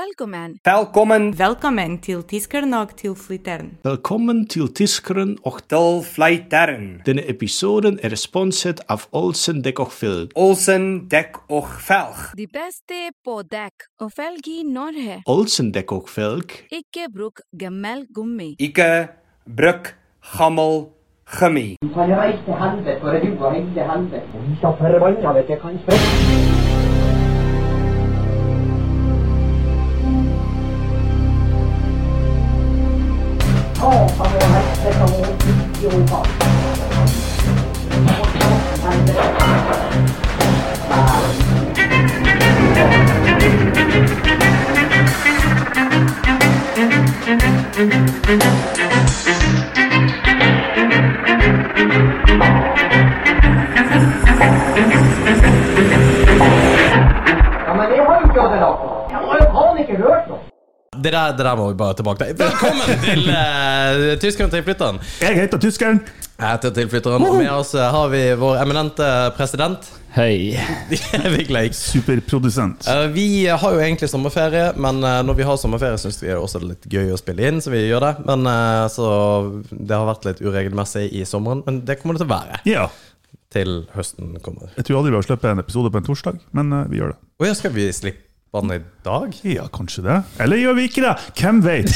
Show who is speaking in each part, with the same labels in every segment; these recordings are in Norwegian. Speaker 1: Velkommen.
Speaker 2: Velkommen
Speaker 3: Velkommen til Tiskernok til Flittern.
Speaker 4: Velkommen til Tiskeren och
Speaker 2: til Flytern.
Speaker 4: denna episoden är sponset av Olsen Däck och Felg.
Speaker 2: Olsen dek och velg.
Speaker 1: De beste på dekk og felg i Norge.
Speaker 4: Olsen Däck och Felg
Speaker 1: Ikke bruk gammel gummi.
Speaker 2: Ike, bruk, gammel, gummi.
Speaker 5: kan reise til helvete, for du har reist til helvete. Vi skal forbanna, vet du, kanskje. Ja, men jeg har jo ikke hatt det nok. Jeg har jo faen ikke hørt noe.
Speaker 6: Det der, det der må vi bare tilbake til. Velkommen til uh, Tyskeren tilflytteren.
Speaker 7: Jeg heter tyskeren.
Speaker 6: Jeg heter tilflytteren, og med oss eh, har vi vår eminente president.
Speaker 8: Hei.
Speaker 6: Vik Leik.
Speaker 7: Superprodusent.
Speaker 6: Eh, vi har jo egentlig sommerferie, men eh, når vi har sommerferie, syns vi det er også litt gøy å spille inn, så vi gjør det. Men eh, så Det har vært litt uregelmessig i sommeren, men det kommer det til å være
Speaker 7: Ja.
Speaker 6: til høsten kommer.
Speaker 7: Jeg tror aldri vi har sluppet en episode på en torsdag, men eh, vi gjør det.
Speaker 6: Og ja, skal vi slippe den i dag?
Speaker 7: Ja, kanskje det. Eller gjør vi ikke det? Hvem vet?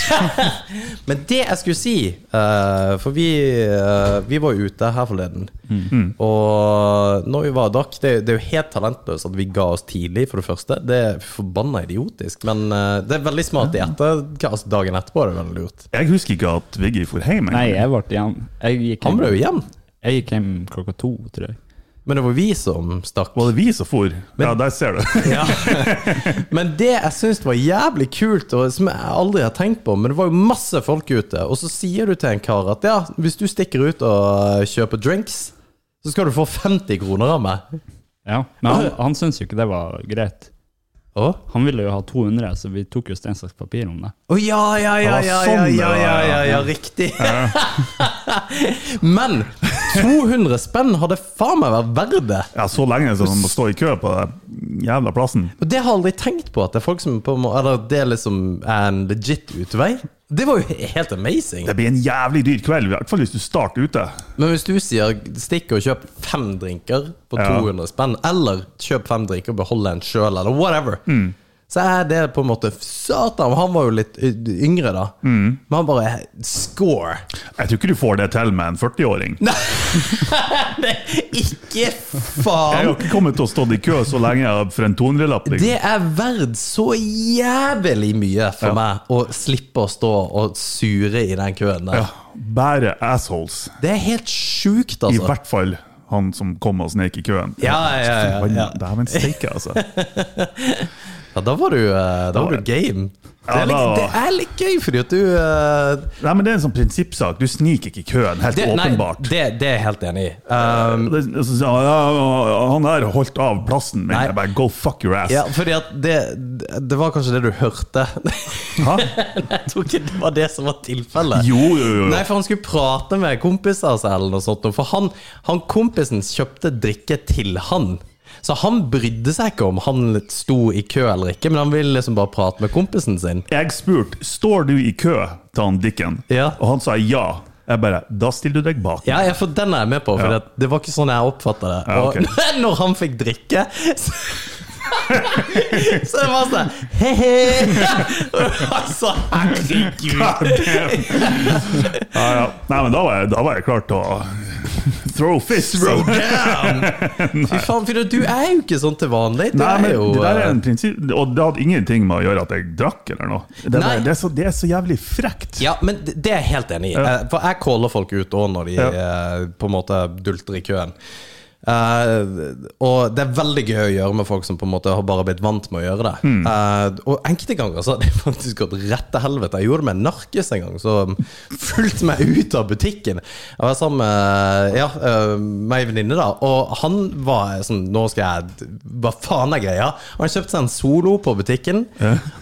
Speaker 6: Men det jeg skulle si eh, For vi, eh, vi var jo ute her forleden.
Speaker 7: Mm.
Speaker 6: Og når vi var og drakk det, det er jo helt talentløst at vi ga oss tidlig, for det første. Det er forbanna idiotisk. Men eh, det er veldig smart i etter, altså dagen etterpå. er det veldig lurt
Speaker 7: Jeg husker ikke at Viggy for hjem.
Speaker 8: Nei,
Speaker 7: engang.
Speaker 8: jeg ble igjen. Jeg gikk
Speaker 6: Han
Speaker 8: hjem,
Speaker 6: ble
Speaker 7: Mm.
Speaker 6: jo igjen.
Speaker 8: jeg gikk hjem klokka to, tror jeg.
Speaker 6: Men det var vi som stakk.
Speaker 7: Var det vi som for? Ja, der ser du.
Speaker 6: Ja. Men det jeg syns var jævlig kult, og som jeg aldri har tenkt på Men det var jo masse folk ute, og så sier du til en kar at ja, hvis du stikker ut og eh, kjøper drinks, så skal du få 50 kroner av meg.
Speaker 8: Ja, Men han, han syntes jo ikke det var greit.
Speaker 6: Å?
Speaker 8: Han ville jo ha 200, så vi tok jo stein, saks, papir om det.
Speaker 6: Å ja, ja, ja,
Speaker 7: Ah,
Speaker 6: ja,
Speaker 7: sånn
Speaker 6: ja,
Speaker 7: det
Speaker 6: ja,
Speaker 7: var,
Speaker 6: ja, ja, ja, riktig. Men 200 spenn hadde faen meg vært verdt det.
Speaker 7: Ja, så lenge som man må stå i kø på den jævla plassen.
Speaker 6: Og det har jeg aldri tenkt på, at det er folk som på en må- Eller det er liksom er en legit utvei. Det var jo helt amazing.
Speaker 7: Det blir en jævlig dyr kveld, i hvert fall hvis du starter ute.
Speaker 6: Men hvis du sier stikk og kjøp fem drinker på
Speaker 7: Ja.
Speaker 6: 200 spenn, eller kjøp fem drinker og behold en sjøl, eller whatever, så er det på en måte Satan, han var jo litt y- yngre da, men han bare score.
Speaker 7: Jeg tror ikke du får det til med en 40-åring.
Speaker 6: Nei, ikke
Speaker 7: Jeg har
Speaker 6: faen!
Speaker 7: ikke kommet til å stå i kø så lenge for en 200-lapp. liksom.
Speaker 6: Det er verdt så jævlig mye for meg å slippe å stå og sure i den køen der.
Speaker 7: Ja, Bare assholes.
Speaker 6: Det er helt sjukt,
Speaker 7: I
Speaker 6: altså.
Speaker 7: hvert fall han som kom og snek i køen.
Speaker 6: Ja, ja, ja, ja.
Speaker 7: Dæven steike, altså.
Speaker 6: Ja, da var du, eh, da var du game. Det
Speaker 7: Ja,
Speaker 6: er litt,
Speaker 7: da-
Speaker 6: det er litt gøy, fordi at du eh,
Speaker 7: Nei, men Det er en sånn prinsippsak. Du sniker ikke i køen, helt
Speaker 6: det, nei,
Speaker 7: åpenbart.
Speaker 6: det, det er jeg helt enig i. Um,
Speaker 7: Det, så sier han, ja, han der holdt av plassen min.
Speaker 6: Nei.
Speaker 7: Jeg bare go fuck your ass.
Speaker 6: ja, fordi at det, det var kanskje det du hørte.
Speaker 7: Hæ?
Speaker 6: Jeg tror ikke det var det som var tilfellet.
Speaker 7: Jo, jo, jo. jo.
Speaker 6: Nei, for han skulle prate med kompiser seg eller noe sånt. For han, han kompisen kjøpte drikke til han. Så han brydde seg ikke om han sto i kø eller ikke, men han ville liksom bare prate med kompisen sin.
Speaker 7: Jeg spurte står du i kø til han Dicken,
Speaker 6: Ja.
Speaker 7: og han sa ja. Jeg bare Da stiller du deg bak.
Speaker 6: Ja, ja, for den er jeg med på, for
Speaker 7: Ja.
Speaker 6: det, det var ikke sånn jeg oppfatta det.
Speaker 7: Ja, ok.
Speaker 6: Og når han fikk drikke så, så det var sånn he-he. Altså, herregud.
Speaker 7: Ja, ja. Nei, men da var, jeg, da var jeg klar til å throw fist.
Speaker 6: Bro, damn. Fy faen, for du er jo ikke sånn til vanlig. Du
Speaker 7: Nei, men
Speaker 6: er jo
Speaker 7: det der er
Speaker 6: eh,
Speaker 7: en prinsipp, og det hadde ingenting med å gjøre at jeg drakk eller noe. Det, er
Speaker 6: Nei.
Speaker 7: bare- det, er, så, det er så jævlig frekt.
Speaker 6: Ja, men det det er jeg helt enig i. Eh, For jeg caller folk ut òg når de
Speaker 7: Ja.
Speaker 6: eh, på en måte dulter i køen. Eh, og det er veldig gøy å gjøre med folk som på en måte har bare blitt vant med å gjøre det. Eh, og enkelte ganger så har det faktisk gått rett til helvete. Jeg gjorde det med en narkis en gang, som fulgte meg ut av butikken. Jeg var sammen med ja, eh, meg og en venninne, da, og han var sånn Nå skal jeg Hva faen er greia? Og han kjøpte seg en solo på butikken,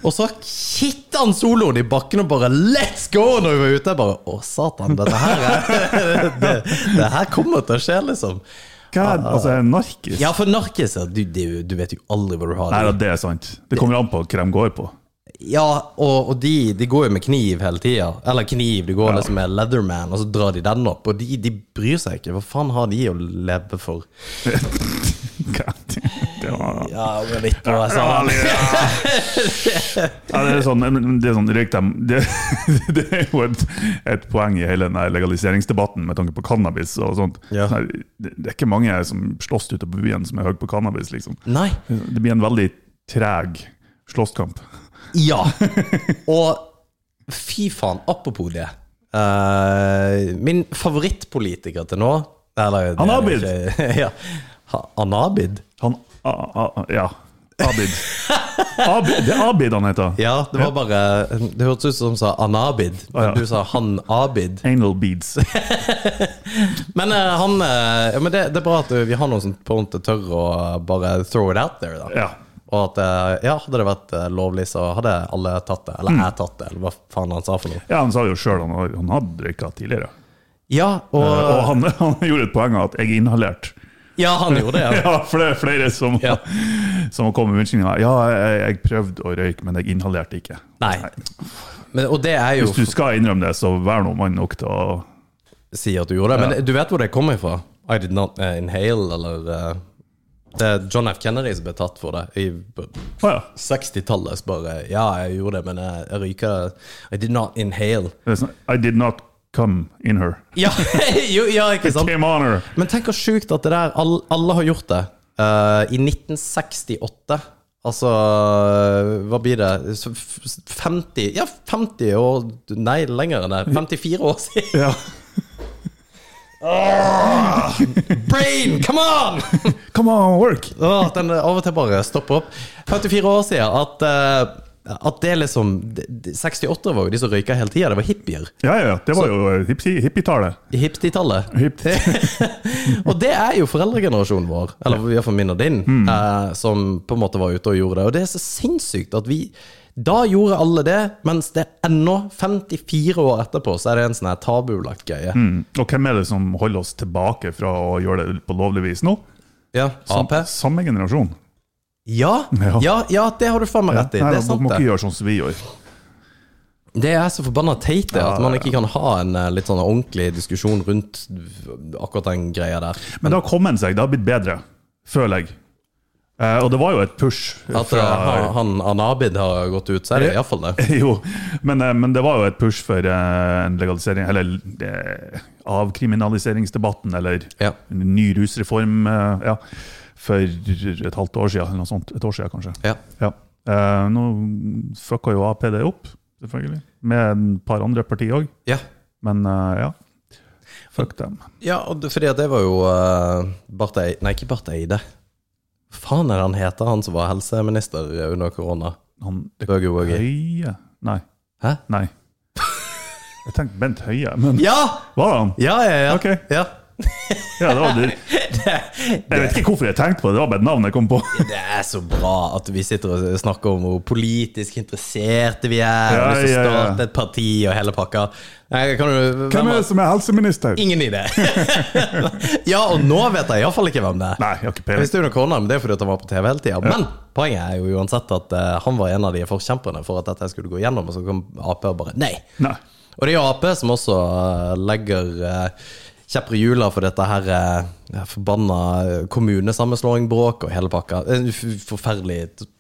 Speaker 6: og så kitta han soloen i bakken og bare Let's go! Når vi var ute. Jeg bare Å, satan, dette her er, det, det her kommer til å skje, liksom.
Speaker 7: Hva er, altså, jeg er narkis.
Speaker 6: Ja, for narkiser, du, du, du vet jo aldri hva du har.
Speaker 7: Nei,
Speaker 6: i.
Speaker 7: da, det er sant. Det kommer an på hva de går på.
Speaker 6: Ja, og, og de, de går jo med kniv hele tida. Eller kniv, de går liksom med Leatherman, og så drar de den opp. Og de, de bryr seg ikke. Hva faen har de å leve for?
Speaker 7: Det var
Speaker 6: Ja, det er litt på det
Speaker 7: Ja,
Speaker 6: samme.
Speaker 7: det er sånn, men det er sånn røyk dem det, det er jo et, et poeng i hele den her legaliseringsdebatten med tanke på cannabis og sånt.
Speaker 6: Ja.
Speaker 7: Sånn her, Det, det er ikke mange som slåss ute på byen som er høye på cannabis, liksom.
Speaker 6: Nei.
Speaker 7: Det blir en veldig treg slåsskamp.
Speaker 6: Ja. Og fy faen, apropos det. Eh, min favorittpolitiker til nå eller, det er
Speaker 7: Anabid.
Speaker 6: ikke- ja. Ha- Anabid?
Speaker 7: Han a, a, a, Ja. Abid. Abid. Det er Abid han heter.
Speaker 6: Ja, det var bare Det hørtes ut som hun sa Anabid.
Speaker 7: Å, ja.
Speaker 6: Du sa han Abid.
Speaker 7: Anal beads.
Speaker 6: Men, eh, han, eh, ja, men det, det er bra at vi har noen som på en måte tør å bare throw it out there. Da.
Speaker 7: Ja.
Speaker 6: Og at eh, ja, hadde det vært eh, lovlig, så hadde alle tatt det. Eller
Speaker 7: Mm.
Speaker 6: jeg tatt det, eller hva faen han sa for noe.
Speaker 7: ja, han sa jo sjøl han, har- han hadde røyka tidligere.
Speaker 6: Ja,
Speaker 7: Eh, Og
Speaker 6: og,
Speaker 7: han, han gjorde et poeng av at 'jeg inhalerte'.
Speaker 6: ja han gjorde det. Ja.
Speaker 7: Ja, for det er flere som,
Speaker 6: Ja.
Speaker 7: som har kommet med unnskyldninger. Ja, jeg, jeg prøvde å røyke, men jeg inhalerte ikke.
Speaker 6: Nei. Men, og det er jo
Speaker 7: Hvis du skal innrømme det, så vær nå mann nok til å
Speaker 6: si at du gjorde det. Men du vet hvor det kommer ifra? I did not eh, inhale, eller eh, Det er John F. Kennedy som ble tatt for det i på
Speaker 7: Å ja.
Speaker 6: 60-tallet. så Bare Ja, jeg gjorde det, men jeg, jeg røyker I did not inhale.
Speaker 7: Det er sånn, I did not come in her.
Speaker 6: Ja, jo, ja ikke sant?
Speaker 7: Came on her.
Speaker 6: Men tenk hvor sjukt at det der alle, alle har gjort det. Eh, I 1968 Altså, eh, hva blir det Så f- 50 Ja, 50 år Nei, lenger enn det. 54 år siden.
Speaker 7: Ja.
Speaker 6: Brain, come on!
Speaker 7: Come on, work!
Speaker 6: Åh, at den av og til bare stopper opp. 54 år siden at, eh, at det liksom de- de- 68 var jo de som røyka hele tida. Det var hippier.
Speaker 7: Ja, ja, ja. Det var jo eh, hippie- hippietallet.
Speaker 6: I Hipstitallet.
Speaker 7: Hippie
Speaker 6: og det er jo foreldregenerasjonen vår, eller i hvert fall min og din,
Speaker 7: Mm.
Speaker 6: eh, som på en måte var ute og gjorde det. Og det er så sinnssykt at vi da gjorde alle det, mens det ennå, 54 år etterpå, så er det en sånn her tabulagt greie.
Speaker 7: Og hvem er det som holder oss tilbake fra å gjøre det på lovlig vis nå?
Speaker 6: Ja,
Speaker 7: Sam-
Speaker 6: Ap?
Speaker 7: Samme generasjon.
Speaker 6: Ja,
Speaker 7: Ja.
Speaker 6: ja, ja, det har du faen meg rett i.
Speaker 7: Nei,
Speaker 6: Det
Speaker 7: da
Speaker 6: er sant,
Speaker 7: må
Speaker 6: det.
Speaker 7: ikke gjøre sånn som vi gjør.
Speaker 6: Det er så forbanna teit det, at man ikke kan ha en eh, litt sånn ordentlig diskusjon rundt akkurat den greia der.
Speaker 7: Men det har kommet seg, det har blitt bedre, føler jeg. Eh, og det var jo et push
Speaker 6: At eh, han, han Anabid har gått ut, så er det iallfall det.
Speaker 7: Jo, men, eh, men det var jo et push for eh, en legalisering, eller eh, avkriminaliseringsdebatten, eller
Speaker 6: Ja.
Speaker 7: en ny rusreform, eh, ja, for et halvt år siden, eller noe sånt. Et år siden, kanskje.
Speaker 6: Ja.
Speaker 7: Eh, nå fucka jo Ap det opp, selvfølgelig, med et par andre partier òg,
Speaker 6: Ja,
Speaker 7: men eh, ja. Fuck dem.
Speaker 6: ja og det, fordi at det var jo uh, Barth Eide Nei, ikke Barth Eide. Faen er det han heter, han som var helseminister under korona?
Speaker 7: Han
Speaker 6: Bøge Wøge.
Speaker 7: Høie Nei.
Speaker 6: Hæ?
Speaker 7: Nei. Jeg tenkte Bent Høie, men
Speaker 6: Ja!
Speaker 7: var det han?
Speaker 6: Ja, ja, ja.
Speaker 7: Ok.
Speaker 6: ja.
Speaker 7: Ja, det var det. Jeg vet ikke hvorfor jeg tenkte på det, det var bare et navn jeg kom på.
Speaker 6: Det er så bra at vi sitter og snakker om hvor politisk interesserte vi er,
Speaker 7: Ja,
Speaker 6: og vi
Speaker 7: ja,
Speaker 6: skal
Speaker 7: ja.
Speaker 6: starte et parti og hele pakka. Nei, kan du, hvem
Speaker 7: Hvem
Speaker 6: var-
Speaker 7: er det som er helseminister?
Speaker 6: Ingen idé. ja, og nå vet jeg iallfall ikke hvem det er.
Speaker 7: Nei, jeg har ikke
Speaker 6: Jeg
Speaker 7: peiling.
Speaker 6: visste jo noe annet, men Det er fordi at han var på TV hele tida. Men poenget er jo uansett at eh, han var en av de forkjemperne for at dette skulle gå gjennom, og så kom Ap og bare nei.
Speaker 7: Nei.
Speaker 6: Og det er jo Ap som også eh, legger uh, kjepper i hjula for dette her uh, forbanna kommunesammenslåingbråk og hele pakka. En f- forferdelig t-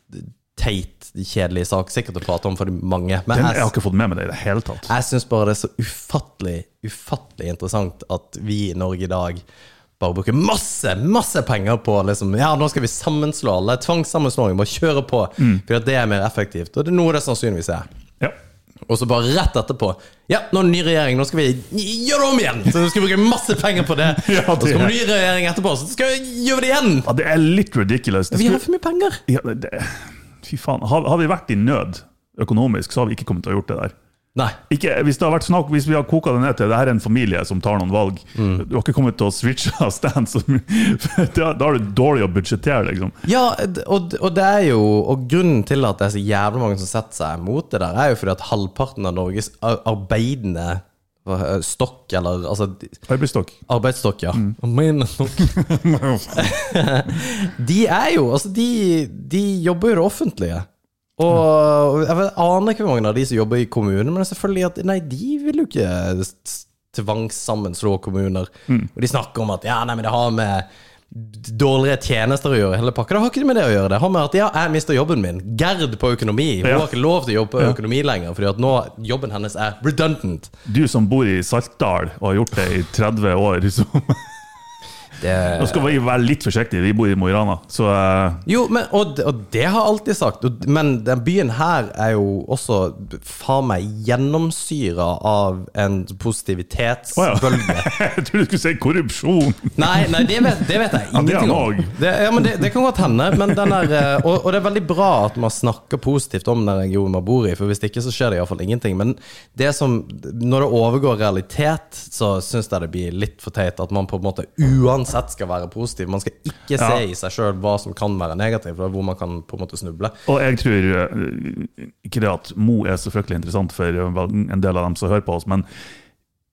Speaker 6: teit, kjedelig sak sikkert å prate om for de mange. Men
Speaker 7: Den,
Speaker 6: jeg-
Speaker 7: jeg har ikke fått med meg det i det hele tatt.
Speaker 6: jeg syns bare det er så ufattelig, ufattelig interessant at vi i Norge i dag bare bruker masse, masse penger på liksom, ja, nå skal vi sammenslå alle. Tvangssammenslåing, bare kjøre på. For at det er mer effektivt. Og det er noe det sannsynligvis er.
Speaker 7: Ja.
Speaker 6: Og så bare rett etterpå Ja, nå er det ny regjering, nå skal vi gjøre det om igjen! Så nå skal vi bruke masse penger på det.
Speaker 7: Ja, det
Speaker 6: og så
Speaker 7: er-
Speaker 6: kommer ny regjering etterpå, så skal vi gjøre det igjen!
Speaker 7: ja, det er litt ridiculous. Det
Speaker 6: Vi har for
Speaker 7: skulle-
Speaker 6: mye penger.
Speaker 7: ja, det, det, fy faen. Har, har vi vært i nød økonomisk, så har vi ikke kommet til å ha gjort det der.
Speaker 6: Nei.
Speaker 7: Ikke, hvis, det har vært snakk, hvis vi har koka det ned til det her er en familie som tar noen valg Du har ikke kommet til å switche av stand, så mye. da da er du dårlig å budsjettere, liksom.
Speaker 6: Ja, d- og, og det er jo Og grunnen til at det er så jævlig mange som setter seg mot det der, er jo fordi at halvparten av Norges ar- arbeidende hva- eh, stokk, eller altså d-
Speaker 7: Arbeidsstokk.
Speaker 6: Arbeidsstokk, ja. Men nok. de er jo Altså, de, de jobber jo i det offentlige. Og jeg vet, aner ikke hvor mange av de som jobber i kommunen, men det er selvfølgelig at nei, de vil jo ikke s- s- tvangssammenslå kommuner.
Speaker 7: Mm.
Speaker 6: Og de snakker om at ja, nei, men det har med d- dårligere tjenester å gjøre, hele pakka. Det har ikke det med det å gjøre. Det har med at ja, jeg mister jobben min. Gerd på økonomi. Hun
Speaker 7: Ja.
Speaker 6: har ikke lov til å jobbe på økonomi lenger, fordi at nå jobben hennes er redundant.
Speaker 7: Du som bor i Saltdal og har gjort det i 30 år så,
Speaker 6: Det...
Speaker 7: Nå skal vi være litt forsiktige, vi bor i Mo i Rana. Så eh,
Speaker 6: Jo, men, og, og det har jeg alltid sagt. Og, men den byen her er jo også faen meg gjennomsyra av en
Speaker 7: Å ja.
Speaker 6: positivitetsbølge.
Speaker 7: jeg trodde du skulle si korrupsjon!
Speaker 6: Nei, nei det, vet, det vet jeg
Speaker 7: Ja, det er
Speaker 6: ingenting om.
Speaker 7: han også.
Speaker 6: Det, ja, men det, det kan godt hende. Men den er, eh, og, og det er veldig bra at man snakker positivt om den regionen man bor i, for hvis ikke så skjer det iallfall ingenting. Men det som, når det overgår realitet, så syns jeg det blir litt for teit at man på en måte uansett skal være positiv. Man skal ikke
Speaker 7: Ja.
Speaker 6: se i seg sjøl hva som kan være negativt, og hvor man kan på en måte snuble.
Speaker 7: Og jeg tror eh, ikke det at Mo er så fryktelig interessant for eh, vel, en del av dem som hører på oss, men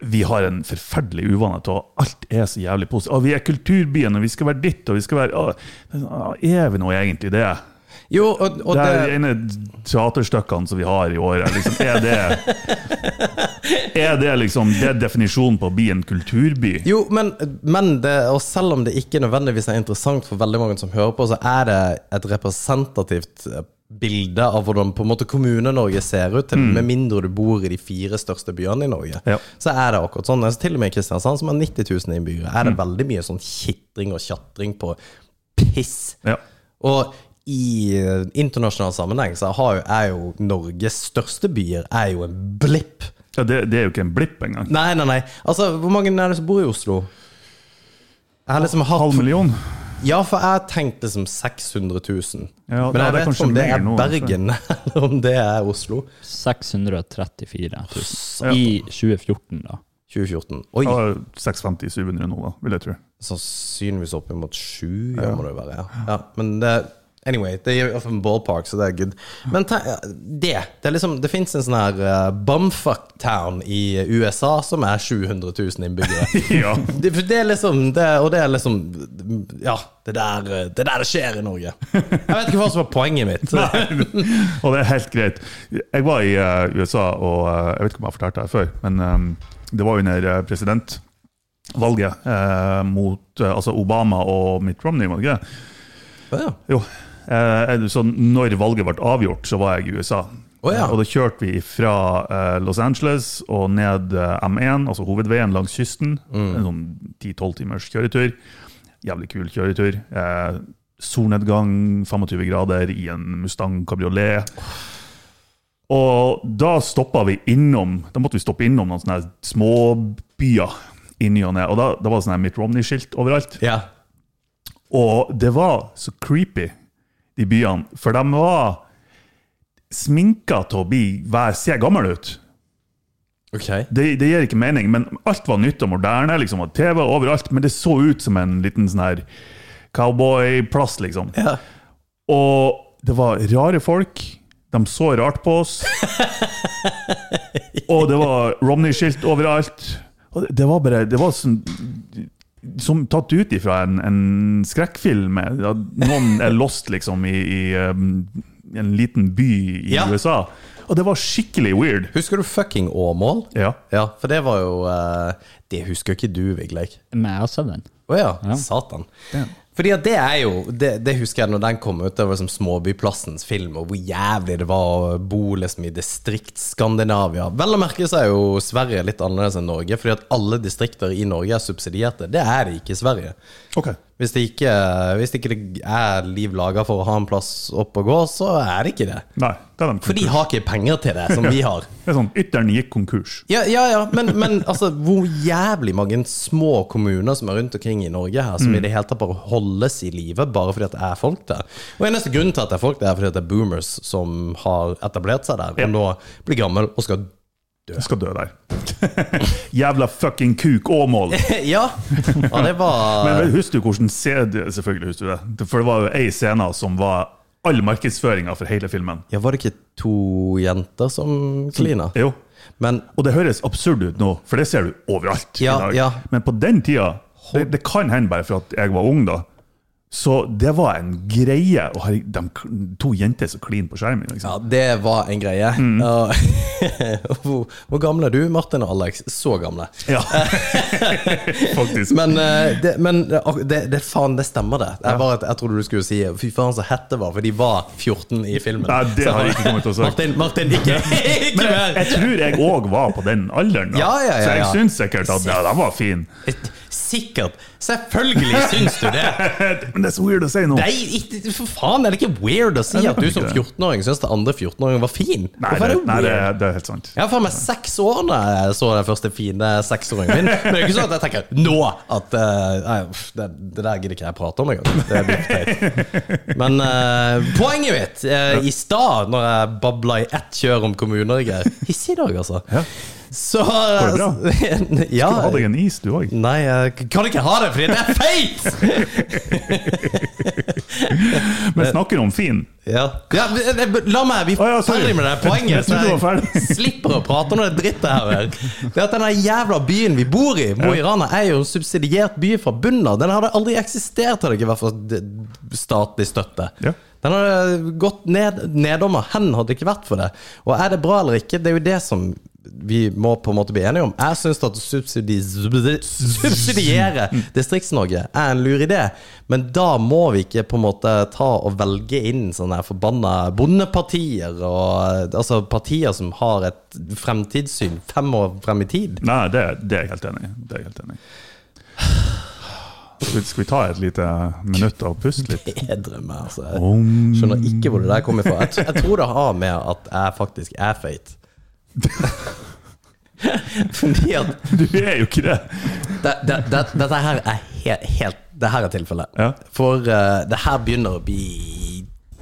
Speaker 7: vi har en forferdelig uvane til å alt er så jævlig positivt. Å, vi er kulturbyen, og vi skal være ditt, og vi skal være å, Er vi nå egentlig det?
Speaker 6: Jo, og, og
Speaker 7: det er
Speaker 6: det,
Speaker 7: de ene teaterstykkene som vi har i året. Liksom, er, det, er det liksom det er definisjonen på å bli en kulturby?
Speaker 6: jo men, men det, og selv om det ikke nødvendigvis er interessant for veldig mange som hører på, så er det et representativt eh, bilde av hvordan på en måte Kommune-Norge ser ut, til, med mindre du bor i de fire største byene i Norge.
Speaker 7: Mm. Ja.
Speaker 6: Så er det akkurat sånn. Altså, til og med i Kristiansand, som har 90 000 innbyggere, er det
Speaker 7: Mm.
Speaker 6: veldig mye sånn kitring og tjatring på piss.
Speaker 7: Ja.
Speaker 6: Og i eh, internasjonal sammenheng så har jo, er jo Norges største byer er jo en blipp.
Speaker 7: Ja, det, det er jo ikke en blipp engang.
Speaker 6: Nei, nei, nei. Altså, Hvor mange er det som bor i Oslo? Jeg har liksom hatt
Speaker 7: Halv million?
Speaker 6: Ja, for jeg tenkte liksom 600 000. Men
Speaker 7: Ja, ja,
Speaker 6: jeg
Speaker 7: det er
Speaker 6: vet ikke
Speaker 7: kanskje
Speaker 6: om det
Speaker 7: mer
Speaker 6: er
Speaker 7: nå, altså.
Speaker 6: Bergen, eller om det er Oslo.
Speaker 8: 634 000 i 2014, da.
Speaker 6: 2014. Oi,
Speaker 7: Ja, 650-700 nå, da, vil jeg tro.
Speaker 6: sannsynligvis oppimot sju, ja. må det være. Ja. Ja, men det, anyway, det er jo en ballpark, så det er good. Men te, det Det, er liksom, det fins en sånn her eh, bumfuck town i USA som er 700 000 innbyggere.
Speaker 7: Ja.
Speaker 6: Det, for det er liksom det, Og det er liksom Ja, det der eh, det, der det skjer i Norge. Jeg vet ikke hva som var poenget mitt.
Speaker 7: Og det er helt greit. Jeg var i eh, USA, og eh, jeg vet ikke om jeg har fortalt det her før, men eh, det var under eh, presidentvalget eh, mot eh, altså Obama og Mitt Romney, var det ikke det?
Speaker 6: Å ja.
Speaker 7: Jo. Eh, så når valget ble avgjort, så var jeg i USA.
Speaker 6: Å ja.
Speaker 7: Eh, Og da kjørte vi fra eh, Los Angeles og ned eh, M1, altså hovedveien langs kysten.
Speaker 6: Mm.
Speaker 7: En sånn 10-12 timers kjøretur. Jævlig kul kjøretur. Eh, solnedgang, 25 grader i en Mustang kabriolet. Og da stoppa vi innom Da måtte vi stoppe innom noen sånne her småbyer i ny og ne. Og da, da var det sånn her Mitt Romney-skilt overalt.
Speaker 6: ja.
Speaker 7: Og det var så creepy, de byene. For de var sminka til å bli hver se gammel ut.
Speaker 6: Ok.
Speaker 7: Det, det gir ikke mening, men alt var nytt og moderne. liksom, og TV overalt, Men det så ut som en liten sånn her cowboyplass, liksom.
Speaker 6: Ja.
Speaker 7: Og det var rare folk. De så rart på oss. og det var Romney-skilt overalt. Og det- det var bare Det var som, som tatt ut ifra en, en skrekkfilm. At noen er lost, liksom, i, i um, en liten by i
Speaker 6: Ja.
Speaker 7: USA. Og det var skikkelig weird.
Speaker 6: Husker du fucking Åmål?
Speaker 7: Ja.
Speaker 6: Ja, for det var jo eh, Det husker jo ikke du, Vigleik.
Speaker 8: Men jeg har sett den.
Speaker 6: Å ja, satan. Fordi at det er jo det, det husker jeg når den kom ut, det var liksom Småbyplassens film, og hvor jævlig det var å bo liksom i distriktsskandinavia. Vel å merke så er jo Sverige litt annerledes enn Norge, fordi at alle distrikter i Norge er subsidierte. Det er det ikke i Sverige.
Speaker 7: Ok.
Speaker 6: Hvis det ikke, hvis det, ikke er liv laga for å ha en plass opp og gå, så er det ikke det.
Speaker 7: Nei, det er de
Speaker 6: For de har ikke penger til det, som vi har.
Speaker 7: Det er sånn, Ytteren gikk konkurs.
Speaker 6: Ja, ja, ja. Men, men altså, hvor jævlig mange små kommuner som er rundt omkring i Norge her, som i det hele tatt bare holdes i live bare fordi at det er folk der. Og eneste grunnen til at det er folk der, er fordi at det er boomers som har etablert seg der, og nå blir gammel og skal
Speaker 7: Jeg skal dø der. Jævla fucking kuk Åmål!
Speaker 6: Ja! ja det var
Speaker 7: Men husker du hvordan CD Selvfølgelig husker du det. For det var jo ei scene som var all markedsføringa for hele filmen.
Speaker 6: ja, Var det ikke to jenter som klina?
Speaker 7: Jo.
Speaker 6: Men
Speaker 7: Og det høres absurd ut nå, for det ser du overalt
Speaker 6: Ja,
Speaker 7: i dag.
Speaker 6: ja.
Speaker 7: Men på den tida det, det kan hende bare for at jeg var ung, da. Så det var en greie. Og herregud, de kl- to jenter som kliner på skjermen. Liksom.
Speaker 6: Ja, det var en greie. Og- hvor, hvor gamle er du, Martin og Alex? Så gamle.
Speaker 7: Ja. Faktisk.
Speaker 6: Men, eh, det, men det, det, det, faen, det stemmer, det. Jeg, bare, jeg trodde du skulle si fy faen så hett det var, for de var 14 i filmen.
Speaker 7: Nei, det
Speaker 6: Så-
Speaker 7: har jeg ikke kommet til å si.
Speaker 6: Martin, Martin, ikke, ikke
Speaker 7: Men jeg,
Speaker 6: mer!
Speaker 7: jeg tror jeg òg var på den alderen, da.
Speaker 6: Ja, ja, ja,
Speaker 7: så jeg
Speaker 6: ja.
Speaker 7: syns sikkert at ja, de var fine.
Speaker 6: Sikkert. Selvfølgelig syns du det.
Speaker 7: Men det er så weird å si nå.
Speaker 6: Nei, ikke, for faen, er det ikke weird å si
Speaker 7: Nei, det
Speaker 6: at du
Speaker 7: er
Speaker 6: som
Speaker 7: ikke det.
Speaker 6: 14-åring syns det andre 14-åringen var fin?
Speaker 7: Nei,
Speaker 6: Hvorfor er
Speaker 7: det,
Speaker 6: det
Speaker 7: nei det,
Speaker 6: weird?
Speaker 7: det er helt sant.
Speaker 6: Jeg var faen meg seks år da jeg så den første fine seksåringen min. Men det er ikke sånn at jeg tenker nå at eh, nei, uff, det, det der gidder ikke jeg prate om engang. Det blir for teit. Men eh, poenget mitt eh, i stad, når jeg babla i ett kjør om Kommune-Norge Hissig i dag, altså.
Speaker 7: Ja.
Speaker 6: Så eh,
Speaker 7: det bra?
Speaker 6: ja.
Speaker 7: Du hadde jeg en is, du òg.
Speaker 6: Nei, jeg kan ikke ha det, fordi det er feit!
Speaker 7: Men snakker om fin.
Speaker 6: Ja. Ja, men, eh, la meg, vi
Speaker 7: Å, ja,
Speaker 6: er
Speaker 7: sorry.
Speaker 6: ferdig med det
Speaker 7: Jeg
Speaker 6: poenget.
Speaker 7: trodde du var ferdig.
Speaker 6: slipper å prate om det drittet her. Det at denne jævla byen vi bor i, Mo i Rana, er jo en subsidiert by fra bunnen av. Den hadde aldri eksistert hadde det ikke vært for d- statlig støtte.
Speaker 7: Ja.
Speaker 6: Den hadde gått ned, nedom og hen hadde det ikke vært for det. Og er det bra eller ikke, det er jo det som vi må på en måte bli enige om. Jeg syns at å subsidi subsidiere Distrikts-Norge er en lur idé, men da må vi ikke på en måte ta og velge inn sånne her forbanna bondepartier, og, altså partier som har et fremtidssyn fem år frem i tid.
Speaker 7: Nei, det, det er jeg helt enig i. Det er jeg helt enig i. Skal, vi- skal vi ta et lite minutt og puste litt?
Speaker 6: Bedre meg, altså. Jeg skjønner ikke hvor det der kommer fra. Jeg, tr- jeg tror det har med at jeg faktisk er feit. Fordi at
Speaker 7: Du er jo ikke det!
Speaker 6: det, det, det, Dette her er helt, helt Det her er tilfellet.
Speaker 7: Ja.
Speaker 6: For eh, det her begynner å bli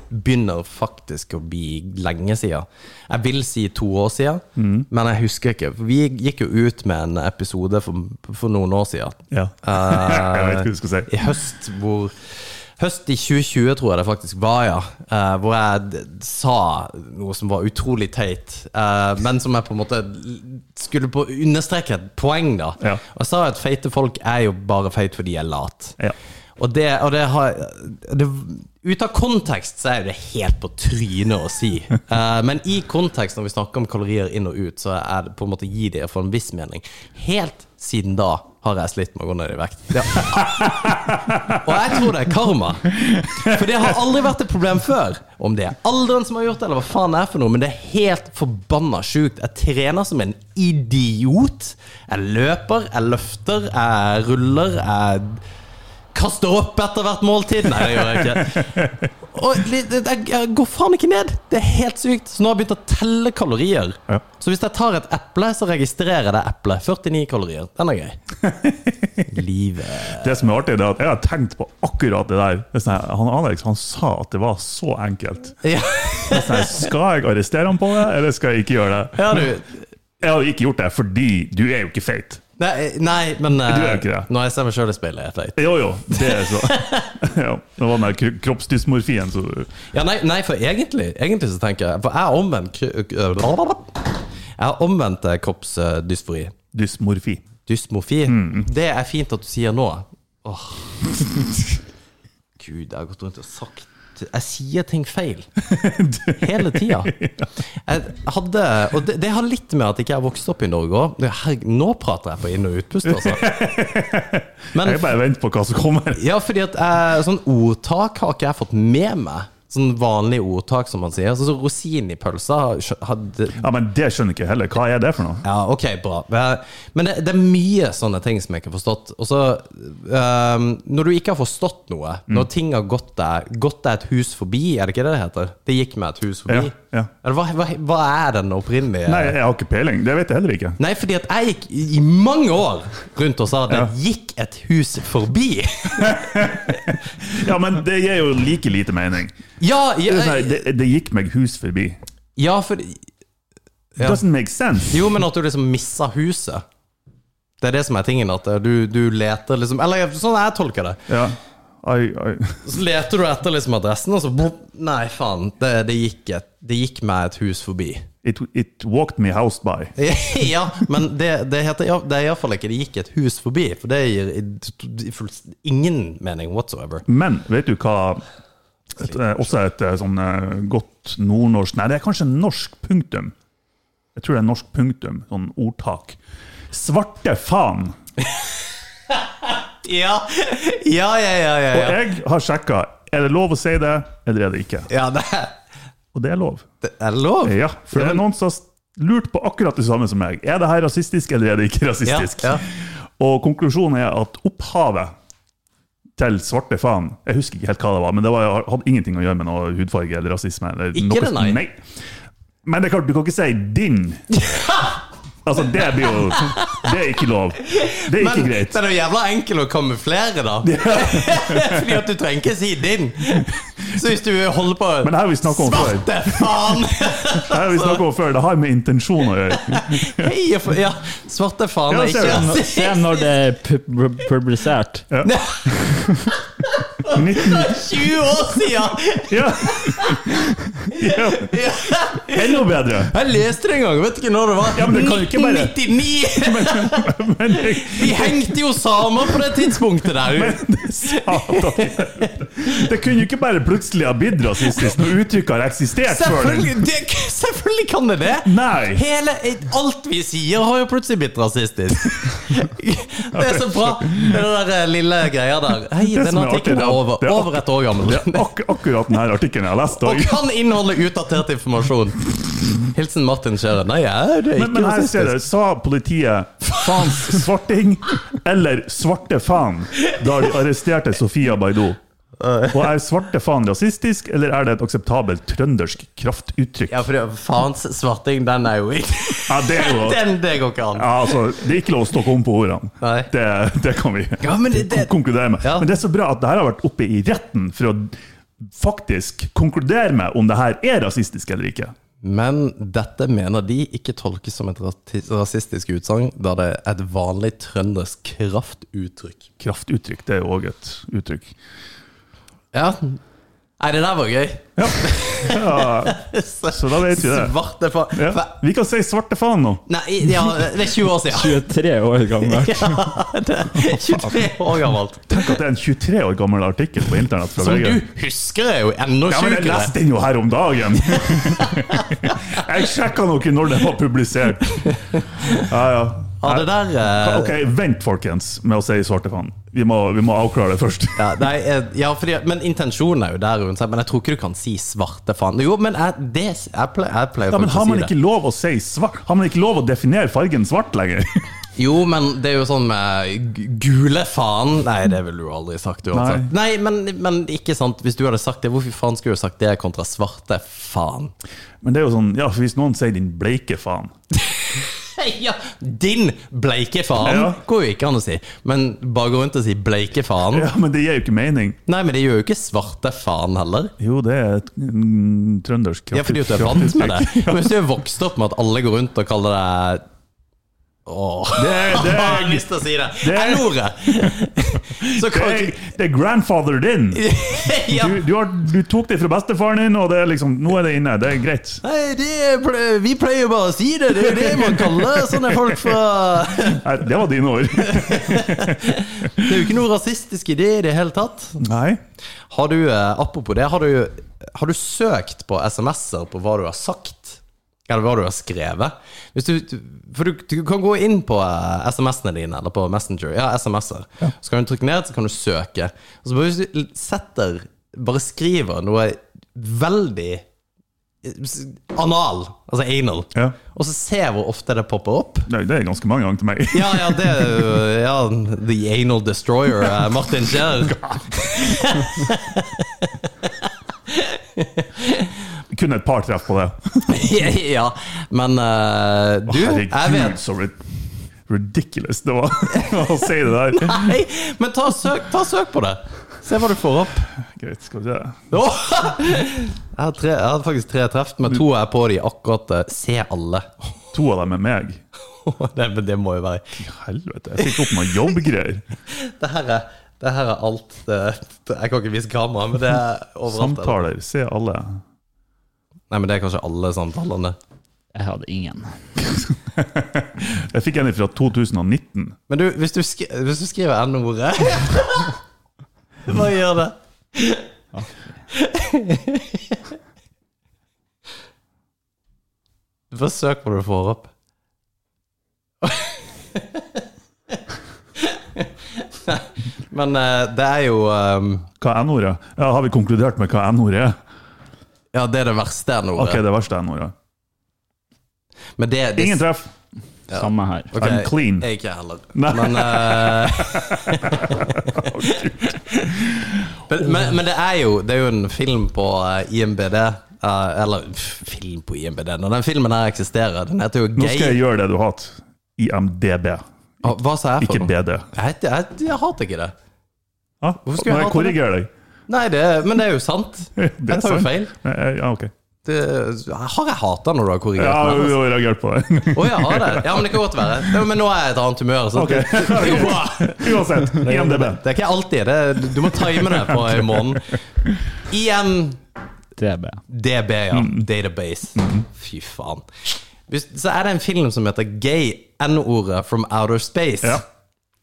Speaker 6: Begynner faktisk å bli lenge siden. Jeg vil si to år siden, men jeg husker ikke. For vi gikk jo ut med en episode for, for noen år siden.
Speaker 7: Ja. Jeg vet ikke hva du skal si.
Speaker 6: I høst hvor Høst i 2020 tror jeg det faktisk var, ja. eh, hvor jeg d- sa noe som var utrolig teit, eh, men som jeg på en måte l- skulle på understreke et poeng, da.
Speaker 7: Ja.
Speaker 6: Og jeg sa at feite folk er jo bare feit fordi de er late.
Speaker 7: Ja.
Speaker 6: Og det, og det har det, Ut av kontekst så er det helt på trynet å si. Eh, men i kontekst, når vi snakker om kalorier inn og ut, så er det på en måte gi det for en viss mening. Helt siden da har jeg slitt med å gå ned i vekt. Det, og jeg tror det er karma. For det har aldri vært et problem før. Om det er alderen som har gjort det, eller hva faen det er for noe, men det er helt forbanna sjukt. Jeg trener som en idiot. Jeg løper, jeg løfter, jeg ruller, jeg Kaster opp etter hvert måltid? Nei, det gjør jeg ikke. Og li- det- jeg, jeg går faen ikke ned! Det er helt sykt. Så nå har jeg begynt å telle kalorier.
Speaker 7: Ja.
Speaker 6: Så hvis jeg tar et eple, så registrerer jeg det eplet. 49 kalorier. Den er gøy. Livet
Speaker 7: Det som er artig, det er at jeg har tenkt på akkurat det der. Det er sånn her, Han Alex han sa at det var så enkelt.
Speaker 6: ja.
Speaker 7: Det er sånn her, Skal jeg arrestere ham på det, eller skal jeg ikke gjøre det?
Speaker 6: ja, du.
Speaker 7: Jeg hadde ikke gjort det, fordi du er jo ikke feit.
Speaker 6: Nei, nei men eh,
Speaker 7: Du er jo ikke det.
Speaker 6: når jeg ser meg sjøl i speilet, er jeg feit.
Speaker 7: Jo, jo, det er så. Ja, det var den der kro- kroppsdysmorfien, så
Speaker 6: Ja, nei, nei, for egentlig, egentlig så tenker jeg For jeg har omvendt kru- Jeg har omvendt eh, kroppsdysfori.
Speaker 7: Dysmorfi.
Speaker 6: Dysmofi.
Speaker 7: Mm.
Speaker 6: Det er fint at du sier nå. Åh. Gud, jeg har gått rundt og sagt Jeg sier ting feil. Hele tida. Jeg hadde Og det, det har litt med at jeg ikke har vokst opp i Norge òg. Herregud, nå prater jeg på inn- og utpust, altså. Men
Speaker 7: Jeg bare venter på hva som kommer.
Speaker 6: ja, fordi at eh, sånn ordtak har ikke jeg fått med meg. Sånn vanlig ordtak, som man sier. Sånn som rosin i pølsa har- hadde
Speaker 7: Ja, Men det skjønner jeg ikke heller. Hva er det for noe?
Speaker 6: ja, ok, bra. Eh, Men det, det er mye sånne ting som jeg ikke har forstått. Og så, ehm, når du ikke har forstått noe,
Speaker 7: Mm.
Speaker 6: når ting har gått deg Gått deg et hus forbi, er det ikke det det heter? Det gikk meg et hus forbi.
Speaker 7: Ja, ja.
Speaker 6: Eller hva, hva, hva er den opprinnelige
Speaker 7: Nei, jeg har ikke peiling. Det vet jeg heller ikke.
Speaker 6: Nei, fordi at jeg gikk i i mange år rundt og sa at det
Speaker 7: Ja.
Speaker 6: gikk et hus forbi.
Speaker 7: Ja, Men det gir jo like lite mening.
Speaker 6: Ja,
Speaker 7: Det, er sånn her,
Speaker 6: jeg,
Speaker 7: det, det gikk meg hus forbi.
Speaker 6: ja for Ja.
Speaker 7: Doesn't make sense.
Speaker 6: Jo, men at du liksom missa huset. eh, Det er det som er tingen. At du, du leter liksom Eller sånn jeg tolker det.
Speaker 7: Ja. I, I,
Speaker 6: Så leter du etter liksom adressen, og så boop, Nei, faen. Det, det, gikk et, det gikk meg et hus forbi.
Speaker 7: it, it walked me housed by.
Speaker 6: ja, men det, det, heter, ja, det er iallfall ikke 'det gikk et hus forbi', for det gir i, i fullst- ingen mening whatsoever.
Speaker 7: Men vet du hva et, eh, Også et eh, sånn eh, godt nordnorsk Nei, det er kanskje norsk punktum. Jeg tror det er norsk punktum, sånn ordtak. Svarte faen!
Speaker 6: Ja, ja, ja, ja. ja,
Speaker 7: Og
Speaker 6: ja.
Speaker 7: jeg har sjekka. Er det lov å si det, eller er det ikke?
Speaker 6: ja det,
Speaker 7: Og det er lov.
Speaker 6: det er lov.
Speaker 7: Ja, for det er noen som har lurt på akkurat det samme som meg. Er det her rasistisk, eller er det ikke rasistisk?
Speaker 6: Ja, ja.
Speaker 7: Og konklusjonen er at opphavet til svarte faen Jeg husker ikke helt hva det var, men det var, hadde ingenting å gjøre med noe hudfarge eller rasisme. Eller
Speaker 6: Ikke
Speaker 7: noe,
Speaker 6: det, nei.
Speaker 7: Men det er klart, du kan ikke si 'din'. Altså, det blir jo Det er ikke lov. Det er ikke
Speaker 6: Men
Speaker 7: greit.
Speaker 6: den er jo jævla enkel å kamuflere, da. Fordi at du trenger ikke si din. Så hvis du holder på
Speaker 7: Men det her har vi snakket om før.
Speaker 6: Svarte faen!
Speaker 7: Det har vi snakket om før, det har med intensjon å gjøre.
Speaker 6: Hei, jeg får- ja, svarte faen
Speaker 7: Ja,
Speaker 6: er
Speaker 7: ser
Speaker 6: ikke
Speaker 7: du.
Speaker 6: rasist.
Speaker 8: Se når det er pu- pu- publisert.
Speaker 7: 19,
Speaker 6: 20 år siden!
Speaker 7: ja. ja. Enda bedre!
Speaker 6: Jeg leste det en gang, vet ikke når det var.
Speaker 7: Ja, men det kan jo ikke bare-
Speaker 6: 1999!
Speaker 7: Men jeg,
Speaker 6: Vi hengte jo samer på det tidspunktet der.
Speaker 7: Det kunne jo ikke bare plutselig ha blitt rasistisk når uttrykket har eksistert før.
Speaker 6: Selvfølgelig, det, selvfølgelig kan det det!
Speaker 7: Nei!
Speaker 6: Hele, alt vi sier, har jo plutselig blitt rasistisk. Det er så bra, det der eh, lille greia der. Hei,
Speaker 7: Det
Speaker 6: den
Speaker 7: som er artig,
Speaker 6: artikkelen
Speaker 7: det
Speaker 6: er
Speaker 7: er-
Speaker 6: over,
Speaker 7: det er
Speaker 6: over et år gammel.
Speaker 7: Det er ak akkurat denne artikkelen jeg har lest.
Speaker 6: Og
Speaker 7: Og,
Speaker 6: kan inneholde utdatert informasjon. Hilsen Martin Scherer. Nei, ja, det er
Speaker 7: men,
Speaker 6: ikke
Speaker 7: men her ser
Speaker 6: rasistisk.
Speaker 7: du, sa politiet 'faens svarting' eller 'svarte faen' da de arresterte Sofia Baidu? Og er 'svarte faen' rasistisk, eller er det et akseptabelt trøndersk kraftuttrykk?
Speaker 6: Ja, for det, faens svarting, den er jo ikke
Speaker 7: Ja, det er jo...
Speaker 6: Den, det går ikke an.
Speaker 7: Ja, altså, Det er ikke lov å stokke om på ordene.
Speaker 6: Nei.
Speaker 7: Det, det kan vi
Speaker 6: Ja, men det- det-
Speaker 7: kon- konkludere med.
Speaker 6: Ja.
Speaker 7: Men det er så bra at det her har vært oppe i retten for å faktisk konkludere med om det her er rasistisk eller ikke.
Speaker 6: Men dette mener de ikke tolkes som et rati- rasistisk utsagn, da det er et vanlig trøndersk kraftuttrykk.
Speaker 7: Kraftuttrykk det er jo òg et uttrykk.
Speaker 6: Ja. Nei, det der var gøy.
Speaker 7: Ja. ja, så da vet vi det.
Speaker 6: Svarte faen
Speaker 7: Ja.
Speaker 6: Fa-
Speaker 7: Vi kan si svarte faen nå.
Speaker 6: Nei, ja, det er 20 år siden.
Speaker 8: 23 år gammel.
Speaker 6: Det er 23 år gammelt.
Speaker 7: Tenk at det er en 23 år gammel artikkel på internett fra
Speaker 6: Som
Speaker 7: VG.
Speaker 6: du husker, er jo enda
Speaker 7: Ja, men jeg
Speaker 6: sjukere.
Speaker 7: leste den jo her om dagen! jeg sjekka nok ikke når den var publisert. Ja, ja.
Speaker 6: Ja, det der eh,
Speaker 7: Ok, vent folkens med å si svarte faen. Vi må, vi må avklare det først.
Speaker 6: Ja, nei, eh, ja fordi, men intensjonen er jo der rundt seg. Men jeg tror ikke du kan si svarte faen. Jo, men jeg, det, jeg pleier, jeg pleier
Speaker 7: Ja, men
Speaker 6: faktisk
Speaker 7: Har man
Speaker 6: å si
Speaker 7: ikke lov å si svart? Har man ikke lov å definere fargen svart lenger?
Speaker 6: det. Jo, men det er jo sånn med gu- gule faen Nei, det ville du aldri sagt uansett. Nei, men, men ikke sant, hvis du hadde sagt det, hvorfor faen skulle du sagt det kontra svarte faen?
Speaker 7: Men det er jo sånn, ja, for hvis noen sier 'din bleike faen'
Speaker 6: Ja, din bleike faen
Speaker 7: Ja.
Speaker 6: går jo ikke an å si. Men bare gå rundt og si bleike faen.
Speaker 7: Ja, men det gir jo ikke mening.
Speaker 6: Nei, men det gjør jo ikke svarte faen heller.
Speaker 7: Jo, det er et mm, trøndersk
Speaker 6: Ja, fordi at du er vant med det. Men hvis du er vokst opp med at alle går rundt og kaller deg Åh,
Speaker 7: Det er- det er-
Speaker 6: jeg har lyst til å si det.
Speaker 7: det er-
Speaker 6: N-ordet! Så kan du
Speaker 7: Hey, det er grandfather din!
Speaker 6: ikke ja.
Speaker 7: Du, du, har, du tok det fra bestefaren din, og det er liksom, nå er det inne. Det er greit.
Speaker 6: Nei, det er ple- vi pleier jo bare å si det. Det er jo det man kaller sånne folk fra Det
Speaker 7: Nei, det var dine ord.
Speaker 6: er jo ikke noe rasistisk i det i det hele tatt.
Speaker 7: Nei.
Speaker 6: Har du, eh, apropos det, har du, har du søkt på SMS-er på hva du har sagt? Eller hva du har skrevet? Hvis du, for du, du kan gå inn på eh, SMS-ene dine, eller på Messenger. Ja, SMS-er. Så kan du trykke ned, så kan du søke. Og så bare hvis du setter Bare skriver noe veldig eh, anal, altså anal,
Speaker 7: Ja.
Speaker 6: og så se hvor ofte det popper opp.
Speaker 7: Nei, det er ganske mange ganger til meg.
Speaker 6: Ja, ja, det er jo ja, The Anal Destroyer, eh, Martin Scherer.
Speaker 7: Kun et par treff på det.
Speaker 6: ja, men eh, du, jeg
Speaker 7: Herregud,
Speaker 6: vet
Speaker 7: så rid- ridiculous det var å si det der.
Speaker 6: Nei, men ta og søk, ta og søk på det. Se hva du får opp.
Speaker 7: Greit, skal vi se.
Speaker 6: Åh! Jeg har, tre, jeg har faktisk tre treff, men to er på de akkurat eh, Se alle.
Speaker 7: To av dem er meg.
Speaker 6: Det, men det må jo være
Speaker 7: Helvete, jeg fikk opp noen jobbgreier.
Speaker 6: Det her er Det her er alt det, det, Jeg kan ikke vise kamera, men det er overalt. eller?
Speaker 7: Samtaler. Se alle.
Speaker 6: Nei, men Det er kanskje alle samtalene.
Speaker 8: Jeg hadde ingen.
Speaker 7: Jeg fikk en fra 2019.
Speaker 6: Men du, hvis du, skri, hvis du skriver N-ordet Hva gjør det? Du får søk på det du får opp. Men eh, det er jo eh,
Speaker 7: Hva er N-ordet? Ja, har vi konkludert med hva N-ordet er?
Speaker 6: Ja, det er det verste N-ordet.
Speaker 7: Ok, det verste N-ordet.
Speaker 6: Men det, det
Speaker 7: Ingen treff!
Speaker 8: Samme her.
Speaker 6: Ok,
Speaker 7: I'm clean.
Speaker 6: Jeg ikke heller.
Speaker 7: Nei.
Speaker 6: Men, eh, men, men, men det er jo Det er jo en film på eh, IMBD. eh, eller pff, film på IMBD Når den filmen her eksisterer, den heter jo
Speaker 7: Nå skal jeg
Speaker 6: Gay
Speaker 7: gjøre det du hater. IMDb.
Speaker 6: Å, Hva sa jeg for
Speaker 7: Ikke
Speaker 6: noe?
Speaker 7: BD.
Speaker 6: Jeg, heter- jeg, jeg hater ikke det.
Speaker 7: Ja,
Speaker 6: Hvorfor
Speaker 7: Nå
Speaker 6: skal jeg
Speaker 7: må jeg
Speaker 6: hate det?
Speaker 7: korrigere deg.
Speaker 6: Nei, det, men det er jo sant.
Speaker 7: Det
Speaker 6: Jeg tar jo feil.
Speaker 7: Ja, ok.
Speaker 6: Det, har jeg hata når du har
Speaker 7: Ja,
Speaker 6: korrigert
Speaker 7: du
Speaker 6: meg?
Speaker 7: har reagert på det.
Speaker 6: Å, jeg har det. Ja, men det kan godt være. Ja, Men nå er jeg i et annet humør. Så
Speaker 7: Ok.
Speaker 6: det, det går bra.
Speaker 7: Uansett, IMDb.
Speaker 6: Det er ikke alltid det. Du må time det på en måned. IMDb,
Speaker 8: DB.
Speaker 6: ja.
Speaker 7: Mm.
Speaker 6: Database. Fy faen. Hvis- Så er det en film som heter Gay N-ordet from Outer Space.
Speaker 7: Ja.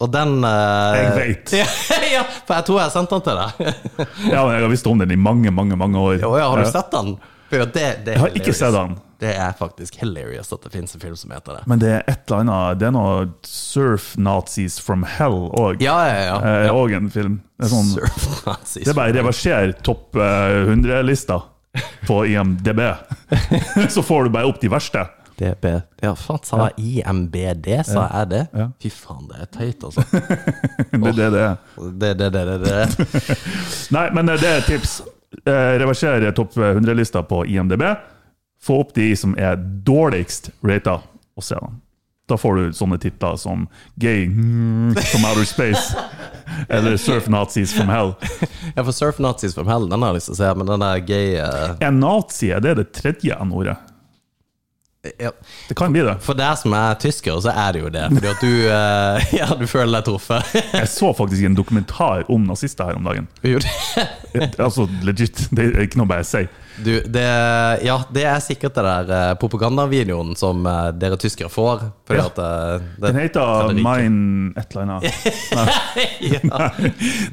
Speaker 6: Og den
Speaker 7: Jeg
Speaker 6: eh,
Speaker 7: vet.
Speaker 6: ja, ja, for jeg tror jeg har sendt den til deg.
Speaker 7: Ja, men jeg har visst om den i mange, mange mange år.
Speaker 6: Å ja, har du
Speaker 7: Ja.
Speaker 6: sett den? For det, det er
Speaker 7: Jeg har ikke
Speaker 6: hilarious.
Speaker 7: sett den.
Speaker 6: Det er faktisk hilarious at det fins en film som heter det.
Speaker 7: Men det er et eller annet Det er noe Surf Nazis from Hell òg.
Speaker 6: Ja, ja, ja.
Speaker 7: Eh, og en film. Det er, sånn,
Speaker 6: Surf Nazis.
Speaker 7: det er bare reverser topp eh, 100-lista på IMDb, så får du bare opp de verste.
Speaker 6: DB. Ja, faen, sa jeg IMBD, sa jeg det? Fy faen, det er teit, altså.
Speaker 7: Det er det det er.
Speaker 6: Det, det, det, det, det.
Speaker 7: Nei, men eh, det er et tips. Eh, Reverser topp 100-lista på IMDb. Få opp de som er dårligst rata, og se dem. Da får du sånne titler som Gay mm, from Outer Space eller Surf Nazis from Hell.
Speaker 6: Ja, for Surf Nazis from Hell, den har jeg lyst til å se, men den der gay eh,
Speaker 7: En nazi er det det tredje N-ordet.
Speaker 6: ja.
Speaker 7: Det kan bli det.
Speaker 6: For deg som er tysker, så er det jo det. Fordi at du eh, Ja, du føler deg truffet.
Speaker 7: Jeg så faktisk en dokumentar om nazister her om dagen.
Speaker 6: Jo, det-
Speaker 7: Et- Altså legit. Det er ikke noe bare jeg sier.
Speaker 6: Du, det Ja, det er sikkert det der eh, propagandavideoen som eh, dere tyskere får. Fordi
Speaker 7: Ja.
Speaker 6: at eh, det-
Speaker 7: Den heter
Speaker 6: det er rike.
Speaker 7: Mine et eller annet.
Speaker 6: ja.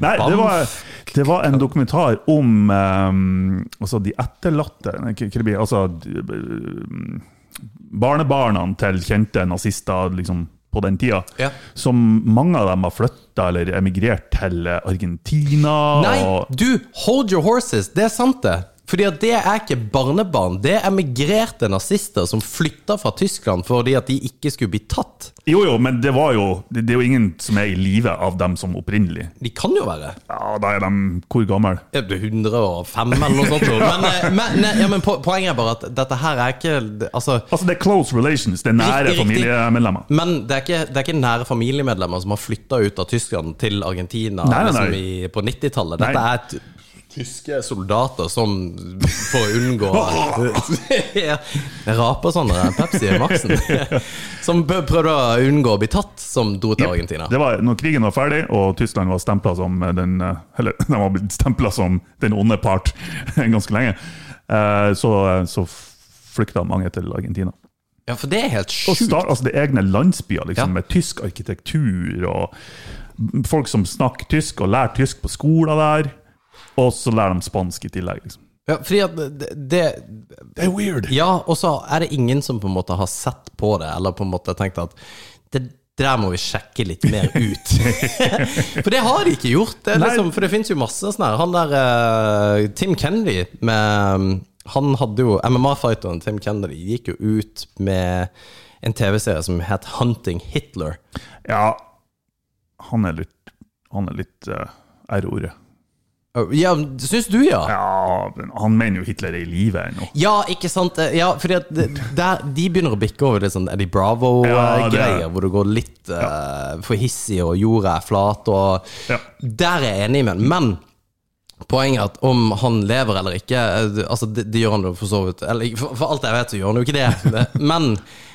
Speaker 7: Nei, det var, det var en dokumentar om ehm, altså de etterlatte nei, hva- hva det blir, Altså eh, barnebarna til kjente nazister liksom, på den tida.
Speaker 6: Ja.
Speaker 7: Som mange av dem har flytta eller emigrert til eh, Argentina.
Speaker 6: Nei,
Speaker 7: og,
Speaker 6: du, hold your horses. Det er sant, det. Fordi at det er ikke barnebarn. Det er emigrerte nazister som flytta fra Tyskland fordi at de ikke skulle bli tatt.
Speaker 7: jo, jo, men det, var jo, det, det er jo ingen som er i live av dem som opprinnelig.
Speaker 6: De kan jo være
Speaker 7: Ja, Da er de hvor gamle?
Speaker 6: Er det 105 eller noe sånt. Men, eh, men, nei, ja, men po- poenget er bare at dette her er ikke Altså
Speaker 7: Altså, det er close relations. Det er nære
Speaker 6: Riktig, riktig.
Speaker 7: familiemedlemmer.
Speaker 6: men det er, ikke, det er ikke nære familiemedlemmer som har flytta ut av Tyskland til Argentina
Speaker 7: Nei, nei,
Speaker 6: liksom
Speaker 7: nei.
Speaker 6: i, på 90-tallet. Dette
Speaker 7: Nei.
Speaker 6: er t tyske soldater som For å unngå Ja, Jeg raper sånn når jeg er Pepsi i maksen. Som prø- prøvde å unngå å bli tatt, som dro til Argentina.
Speaker 7: Det var når krigen var ferdig, og Tyskland var stempla som den eh, Eller de var blitt stemplet som den onde part ganske lenge, eh, så, så flykta mange til Argentina.
Speaker 6: Ja, for det er helt
Speaker 7: Og
Speaker 6: sjukt.
Speaker 7: start, altså Det er egne landsbyer liksom,
Speaker 6: Ja.
Speaker 7: med tysk arkitektur, og folk som snakker tysk og lærer tysk på skolen der. Og så lærer de spansk i tillegg. liksom.
Speaker 6: Ja, fordi at det, det
Speaker 7: Det er weird!
Speaker 6: Ja, og så er det ingen som på en måte har sett på det, eller på en måte tenkt at det det der må vi sjekke litt mer ut. for det har de ikke gjort. Det er
Speaker 7: Nei.
Speaker 6: liksom, for det fins jo masse sånn her. Han der eh, Tim Kennedy med mm, Han hadde jo MMA-fighteren Tim Kennedy gikk jo ut med en TV-serie som het Hunting Hitler.
Speaker 7: Ja, han er litt Han er litt eh, R-ordet.
Speaker 6: Å, Ja, syns du, ja?
Speaker 7: Ja, men han mener jo Hitler er i live ennå.
Speaker 6: Ja, ikke sant? Eh, Ja, fordi at det- der, De begynner å bikke over litt sånn Eddie
Speaker 7: Ja, det er-
Speaker 6: Bravo-greier, hvor det går litt eh, for hissig, og jorda er flat. og
Speaker 7: Ja.
Speaker 6: Der er jeg enig med ham. Men poenget er at om han lever eller ikke eh, Altså, Det, det gjør han jo for så vidt. Eller, ikke- for, for alt jeg vet, så gjør han jo ikke det. Men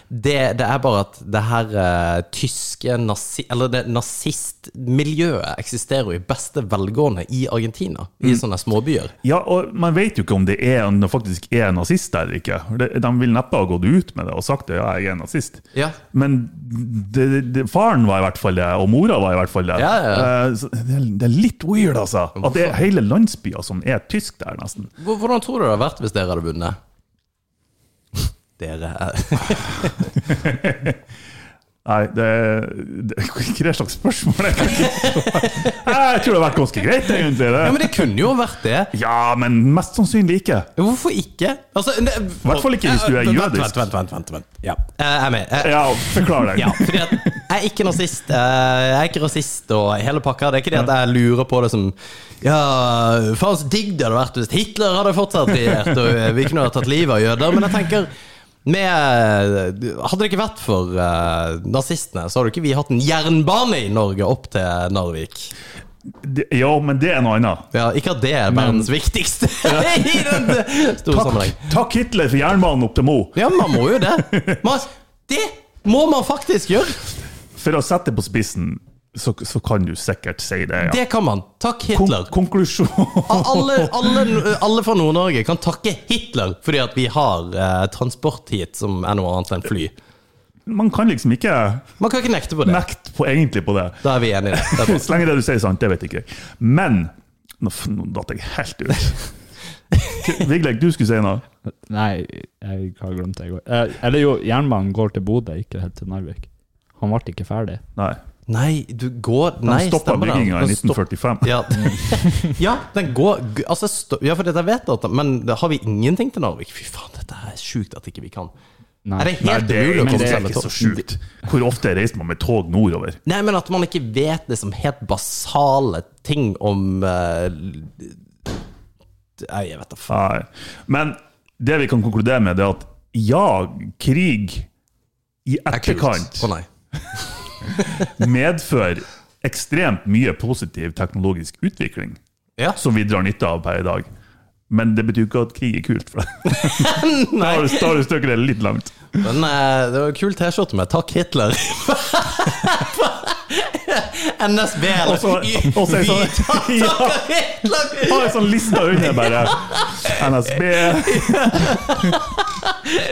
Speaker 6: Det, det er bare at det her eh, tyske nazi, Eller det nazistmiljøet eksisterer jo i beste velgående i Argentina. I
Speaker 7: Mm.
Speaker 6: sånne småbyer.
Speaker 7: Ja, og Man vet jo ikke om det er om det faktisk er nazister eller ikke. De, de vil neppe ha gått ut med det og sagt at ja, jeg er nazist.
Speaker 6: Ja.
Speaker 7: Men det, det, faren var i hvert fall det, og mora var i hvert fall det.
Speaker 6: Ja, ja,
Speaker 7: Eh, så det, er, det er litt weird, altså. At det er hele landsbyer som er tysk der, nesten.
Speaker 6: Hvor- Hvordan tror du det hadde vært hvis dere hadde vunnet? Dere er
Speaker 7: Nei, det, det Hva slags spørsmål? Jeg, kan ikke svare. jeg tror det har vært ganske greit, egentlig.
Speaker 6: Ja, men
Speaker 7: Det.
Speaker 6: det kunne jo vært det!
Speaker 7: Ja, men mest sannsynlig ikke.
Speaker 6: Hvorfor ikke? Altså, det,
Speaker 7: hvert fall ikke hvis du er
Speaker 6: Vent,
Speaker 7: jødisk.
Speaker 6: Vent, vent, vent. vent, vent. Ja. Jeg er med. Jeg,
Speaker 7: Ja, forklar deg.
Speaker 6: Ja, fordi at jeg er ikke nazist. eh, Jeg er ikke rasist og hele pakka. Det er ikke det at jeg lurer på det som Ja, faen så digg det hadde vært hvis Hitler hadde fortsatt regjert og vi kunne ha tatt livet av jøder. Men jeg tenker med, Hadde det ikke vært for eh, nazistene, så hadde ikke vi hatt en jernbane i Norge opp til Narvik.
Speaker 7: Det- Ja, men det er noe annet.
Speaker 6: Ja, ikke at det er verdens viktigste i den store sammenheng.
Speaker 7: Takk, takk Hitler for jernbanen opp til Mo.
Speaker 6: Ja, man må jo det. Man, det må man faktisk gjøre.
Speaker 7: For å sette det på spissen, så, så kan du sikkert si det. Ja.
Speaker 6: Det kan man. Takk,
Speaker 7: Kon
Speaker 6: Hitler.
Speaker 7: konklusjon
Speaker 6: Al- Alle, alle, alle fra Nord-Norge kan takke Hitler fordi at vi har eh, transport hit som er noe annet enn fly.
Speaker 7: Man kan liksom ikke
Speaker 6: Man kan ikke nekte på det.
Speaker 7: nekte på, egentlig på det.
Speaker 6: Da er vi enige. Det er bra.
Speaker 7: Så lenge det du sier er sant, det vet ikke jeg. Men Nå, f- nå datt jeg helt ut. Vigleg, du skulle si noe.
Speaker 8: Nei, jeg har glemt det i går. Eh, eller jo, jernbanen går til Bodø, ikke helt til Narvik. Han ble ikke ferdig.
Speaker 7: Nei.
Speaker 6: Nei, du går
Speaker 7: De
Speaker 6: Nei,
Speaker 7: stoppa
Speaker 6: stemmer det.
Speaker 7: bygginga i
Speaker 6: Den stopp-
Speaker 7: 1945.
Speaker 6: Ja. ja, den går g- altså, sto, Ja, for dette vet jeg at Men da har vi ingenting til Narvik? Fy faen, dette er sjukt at ikke vi kan.
Speaker 8: Nei.
Speaker 6: Er det
Speaker 7: Nei,
Speaker 6: helt
Speaker 7: det er,
Speaker 6: umulig å
Speaker 7: men det
Speaker 6: komme
Speaker 7: er
Speaker 6: seg med
Speaker 7: ikke så
Speaker 6: tog?
Speaker 7: sjukt. Hvor ofte reiser man med tog nordover?
Speaker 6: Nei, men at man ikke vet liksom helt basale ting om eh, Nei, jeg vet da faen.
Speaker 7: Nei. Men det vi kan konkludere med, det er at ja, krig
Speaker 6: Det
Speaker 7: i
Speaker 6: er kult.
Speaker 7: etterkant
Speaker 6: Å nei.
Speaker 7: medfører ekstremt mye positiv teknologisk utvikling
Speaker 6: Ja.
Speaker 7: som vi drar nytte av per i dag. Men det betyr jo ikke at krig er kult. for deg. Da har du- da har du støkket det litt langt.
Speaker 6: Men eh, det var kul T-skjorte med 'Takk Hitler'. NSB eller
Speaker 7: Og så-
Speaker 6: Y-
Speaker 7: og så er det sånn-
Speaker 6: Vi tar-
Speaker 7: Ja.
Speaker 6: takker Hitler!
Speaker 7: Har en sånn liste under, bare. NSB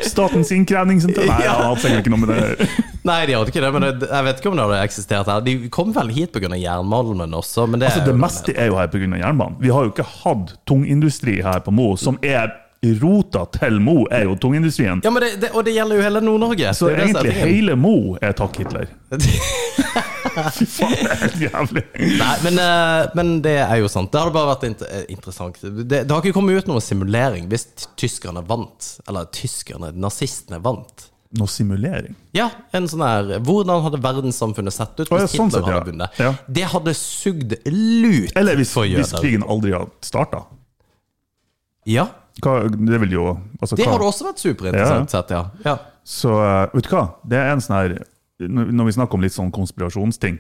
Speaker 7: Statens innkrevingssenter Nei, han hadde sikkert ikke noe med det
Speaker 6: Nei, de hadde ikke det, men det, jeg vet ikke om det hadde eksistert her. De kom vel hit pga. jernmalmen også, men det,
Speaker 7: Altså,
Speaker 6: er
Speaker 7: det
Speaker 6: jo-
Speaker 7: meste er jo her pga. jernbanen. Vi har jo ikke hatt tungindustri her på Mo, som er rota til Mo, er jo tungindustrien.
Speaker 6: Ja, men det, det, Og det gjelder jo hele Nord-Norge.
Speaker 7: Så
Speaker 6: det er jo sånn- det som er
Speaker 7: egentlig
Speaker 6: tingen.
Speaker 7: hele Mo er takk Hitler. Fy faen, det er helt jævlig.
Speaker 6: Nei, men, eh, men det er jo sant. Det hadde bare vært inter eh, interessant. Det, det har ikke kommet ut noen simulering hvis t- tyskerne vant. Eller tyskerne, nazistene vant.
Speaker 7: Noe simulering.
Speaker 6: Ja, en sånn her Hvordan hadde verdenssamfunnet sett ut
Speaker 7: Å, ja,
Speaker 6: hvis
Speaker 7: sånn
Speaker 6: Hitler
Speaker 7: sett, ja.
Speaker 6: hadde vunnet?
Speaker 7: Ja.
Speaker 6: Det hadde sugd lut
Speaker 7: Eller hvis,
Speaker 6: for
Speaker 7: hvis
Speaker 6: jøder.
Speaker 7: krigen aldri hadde starta.
Speaker 6: Ja,
Speaker 7: Det vil jo altså,
Speaker 6: det
Speaker 7: hva-
Speaker 6: hadde også vært superinteressant sett, ja. ja.
Speaker 7: Så eh, vet du hva? Det er en sånn her Når når vi snakker om litt sånn konspirasjonsting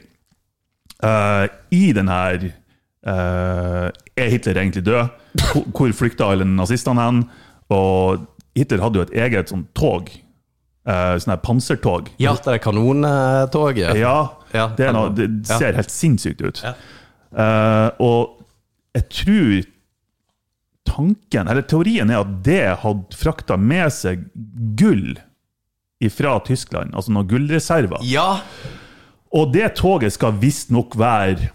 Speaker 7: eh, I den her eh, Er Hitler egentlig død? Hvor- Hvor flykta alle nazistene hen? Og Hitler hadde jo et eget sånn tog. Uh, sånn her pansertog.
Speaker 6: Ja, det er kanontoget.
Speaker 7: Ja,
Speaker 6: Ja,
Speaker 7: det, er noe, det
Speaker 6: ja.
Speaker 7: ser helt sinnssykt ut.
Speaker 6: Ja.
Speaker 7: Eh, og jeg tror tanken, eller teorien er at det hadde frakta med seg gull fra Tyskland, altså noen gullreserver.
Speaker 6: Ja,
Speaker 7: Og det toget skal visstnok være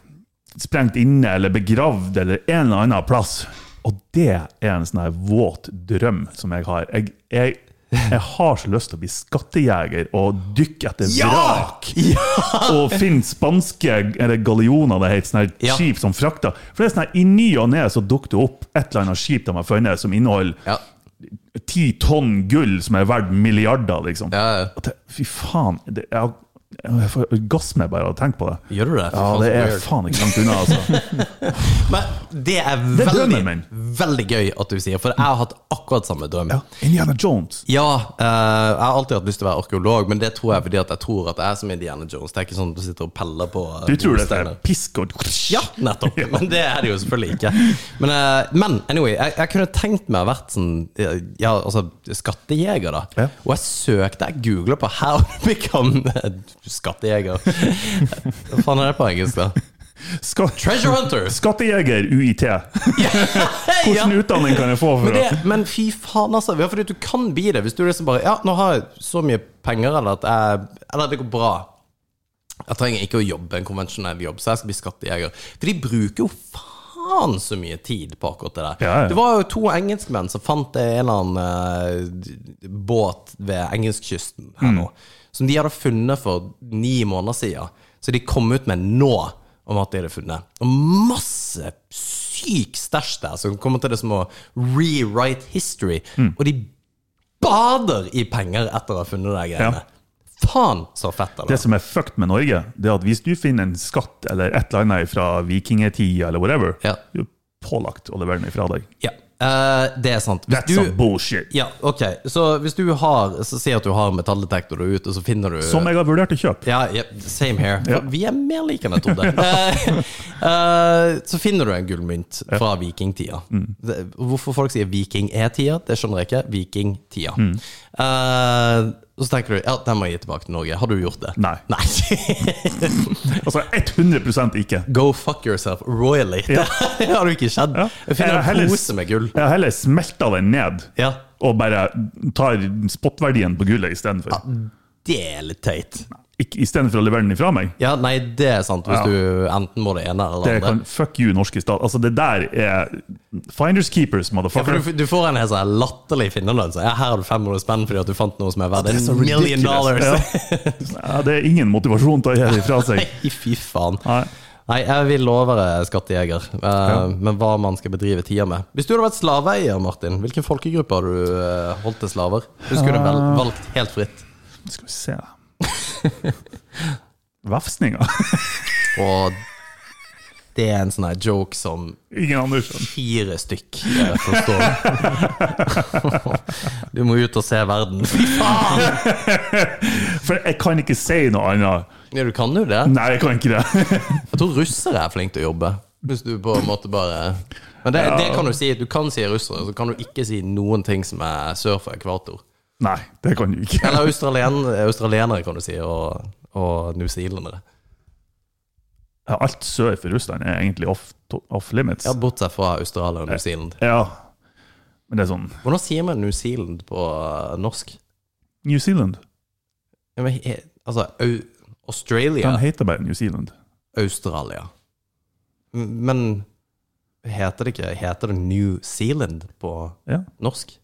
Speaker 7: sprengt inne eller begravd eller en eller annen plass. Og det er en sånn her våt drøm som jeg har. Jeg, jeg, jeg har så lyst til å bli skattejeger og dykke etter vrak og finne spanske eller gallioner, det heter, sånne her
Speaker 6: Ja.
Speaker 7: skip som frakter. For det er sånn her, I ny og ne så dukker det opp et eller annet skip de har funnet, som inneholder
Speaker 6: Ja.
Speaker 7: ti tonn gull som er verdt milliarder, liksom.
Speaker 6: Ja, ja.
Speaker 7: At det- Fy faen. Det, jeg, har- Jeg får orgasme bare av å tenke på det.
Speaker 6: Gjør du det?
Speaker 7: Ja, det er faen ikke langt unna, altså.
Speaker 6: Men det er
Speaker 7: Det er
Speaker 6: veldig,
Speaker 7: drømmen min.
Speaker 6: veldig gøy at du sier, for jeg har hatt akkurat samme drøm.
Speaker 7: Ja, Indiana Jones.
Speaker 6: Ja, eh, jeg har alltid hatt lyst til å være arkeolog, men det tror jeg fordi at jeg tror at jeg er som Indiana Jones. Det er ikke sånn at du sitter og peller på eh,
Speaker 7: Du tror det er
Speaker 6: brosteiner.
Speaker 7: pisk og
Speaker 6: Ja, nettopp. Men det er det jo selvfølgelig ikke. Men, eh, men anyway, jeg, jeg kunne tenkt meg å vært sånn eh, Ja, altså skattejeger, da.
Speaker 7: Ja.
Speaker 6: Og jeg søkte, jeg googla på 'How to become a skattejeger'. Hva faen er det på engelsk, da?
Speaker 7: Skatt,
Speaker 6: Treasure hunter!
Speaker 7: skattejeger UiT.
Speaker 6: Ja.
Speaker 7: Hvilken utdanning kan jeg få
Speaker 6: Men,
Speaker 7: for det?
Speaker 6: det, men fy faen, altså. Ja, fordi du kan bli det hvis du liksom bare Ja, nå har jeg så mye penger, eller at jeg Eller det går bra. Jeg trenger ikke å jobbe en konvensjonell jobb, så jeg skal bli skattejeger. For de bruker jo faen så mye tid på akkurat det der.
Speaker 7: Ja, ja.
Speaker 6: Det var jo to engelskmenn som fant en eller annen eh, båt ved engelskkysten her nå,
Speaker 7: Mm.
Speaker 6: som de hadde funnet for ni måneder siden. Så de kom ut med nå om at de hadde funnet. Og masse syk stæsj der, som kommer til det som å rewrite history.
Speaker 7: Mm.
Speaker 6: Og de bader i penger etter å ha funnet de greiene.
Speaker 7: Ja.
Speaker 6: Faen så fett det
Speaker 7: Det
Speaker 6: var.
Speaker 7: som er fucked med Norge, det er at hvis du finner en skatt eller et eller annet fra vikingetida eller whatever,
Speaker 6: Ja.
Speaker 7: du er pålagt å levere den ifra deg.
Speaker 6: Ja, eh, det er sant. Hvis
Speaker 7: That's some bullshit.
Speaker 6: ja, ok. Så hvis du har Så Si at du har en metalldetektor og er ute, og så finner du
Speaker 7: Som jeg har vurdert å kjøpe.
Speaker 6: ja, ja, same here.
Speaker 7: Ja.
Speaker 6: Vi er mer like enn jeg trodde. Eh, eh, så finner du en gullmynt fra vikingtida.
Speaker 7: Mm.
Speaker 6: Det- Hvorfor folk sier viking-e-tida, det skjønner jeg ikke. Vikingtida.
Speaker 7: Mm.
Speaker 6: Eh, og så tenker du ja, den må jeg gi tilbake til Norge. Har du gjort det?
Speaker 7: Nei.
Speaker 6: Nei.
Speaker 7: Altså 100 ikke.
Speaker 6: Go fuck yourself royally.
Speaker 7: Ja.
Speaker 6: Det har du ikke skjedd.
Speaker 7: Ja.
Speaker 6: Jeg finner
Speaker 7: Jeg har heller-
Speaker 6: en pose med gull.
Speaker 7: Jeg har heller smelta den ned
Speaker 6: Ja.
Speaker 7: og bare tar spotverdien på gullet istedenfor.
Speaker 6: Det er litt teit.
Speaker 7: Ikke- Istedenfor å levere den ifra meg.
Speaker 6: Ja, nei, det er sant, hvis
Speaker 7: Ja.
Speaker 6: du enten må det ene eller det
Speaker 7: Det
Speaker 6: andre.
Speaker 7: kan, fuck you, norske stat. Altså, det der er finders keepers,
Speaker 6: Ja, for
Speaker 7: motherfucker.
Speaker 6: du, du får en helt sånn latterlig finnerlønn. Så ja, her har du 500 spenn fordi at du fant noe som er verdt
Speaker 7: Det er så
Speaker 6: en million
Speaker 7: ridiculous.
Speaker 6: dollars.
Speaker 7: Ja. ja, det er ingen motivasjon til å gjøre det ifra seg.
Speaker 6: Nei, fy faen.
Speaker 7: Nei.
Speaker 6: Nei, jeg vil love deg, skattejeger, eh, men hva man skal bedrive tida med. Hvis du hadde vært slaveeier, Martin, hvilken folkegruppe hadde du eh, holdt til slaver? Du skulle vel,
Speaker 7: Ah.
Speaker 6: valgt helt fritt.
Speaker 7: Skal vi se Vefsninger.
Speaker 6: Og det er en sånn her joke som
Speaker 7: Ingen andre skjønner.
Speaker 6: fire stykk eh, forstår. du må ut og se verden. Fy faen!
Speaker 7: For jeg kan ikke si noe annet.
Speaker 6: Ja, du kan jo det.
Speaker 7: Nei, jeg kan ikke det.
Speaker 6: Jeg tror russere er flinke til å jobbe. Hvis du på en måte bare Men det, det kan du si. Du kan si russere, så kan du ikke si noen ting som er sør for ekvator.
Speaker 7: Nei, det kan du ikke.
Speaker 6: Eller australien, australienere, kan du si, og, og newzealendere.
Speaker 7: Ja, Alt sør for Russland er egentlig off, off limits.
Speaker 6: Ja, bortsett fra Australia og New Zealand.
Speaker 7: Ja. Men det er sånn
Speaker 6: Hvordan sier man New Zealand på eh, norsk?
Speaker 7: New Zealand.
Speaker 6: Ja, men, he- altså au, Australia
Speaker 7: Den heter bare New Zealand.
Speaker 6: Australia. M- Men heter det ikke Heter det New Zealand på
Speaker 7: Ja.
Speaker 6: norsk?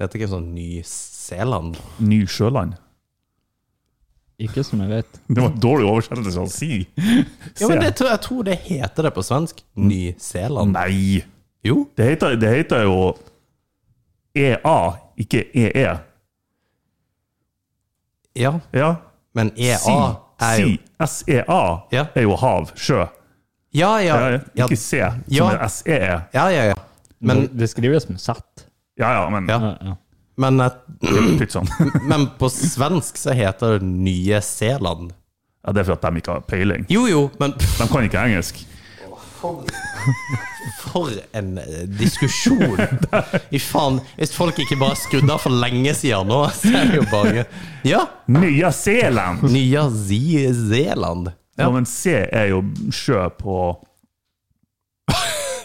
Speaker 6: Det heter ikke sånn Ny-Zeeland?
Speaker 7: Ny Sjøland.
Speaker 8: Ikke som jeg vet.
Speaker 7: Det var en dårlig oversettelse å si.
Speaker 6: Ja, men
Speaker 7: Se. Mm.
Speaker 6: det, tror- jeg tror det heter det på svensk. Ny-Zeeland.
Speaker 7: Nei!
Speaker 6: Jo.
Speaker 7: Det heter, det heter jo EA, ikke E EE.
Speaker 6: Ja,
Speaker 7: Ja.
Speaker 6: men EA E er jo
Speaker 7: Si. SEA
Speaker 6: Ja.
Speaker 7: E er jo hav, sjø.
Speaker 6: Ja, ja.
Speaker 7: Ja, ja.
Speaker 6: Ja,
Speaker 7: Ikke C, som
Speaker 6: Ja.
Speaker 7: er E SEE.
Speaker 6: ja. ja, ja. Men,
Speaker 8: det skrives med Z.
Speaker 7: Ja ja, men
Speaker 6: Ja.
Speaker 8: Ja, ja.
Speaker 6: men, eh,
Speaker 7: pytt sånn.
Speaker 6: men på svensk så heter det Nye Zeeland.
Speaker 7: Ja, det er for at de ikke har peiling.
Speaker 6: Jo, jo, men pff,
Speaker 7: De kan ikke engelsk.
Speaker 6: for en eh, diskusjon! I faen, Hvis folk ikke bare skrudde av for lenge siden nå, så er det jo bare Ja!
Speaker 7: Nya Zealand!
Speaker 6: Nye Zi- Zeeland.
Speaker 7: Ja. men C er jo sjø på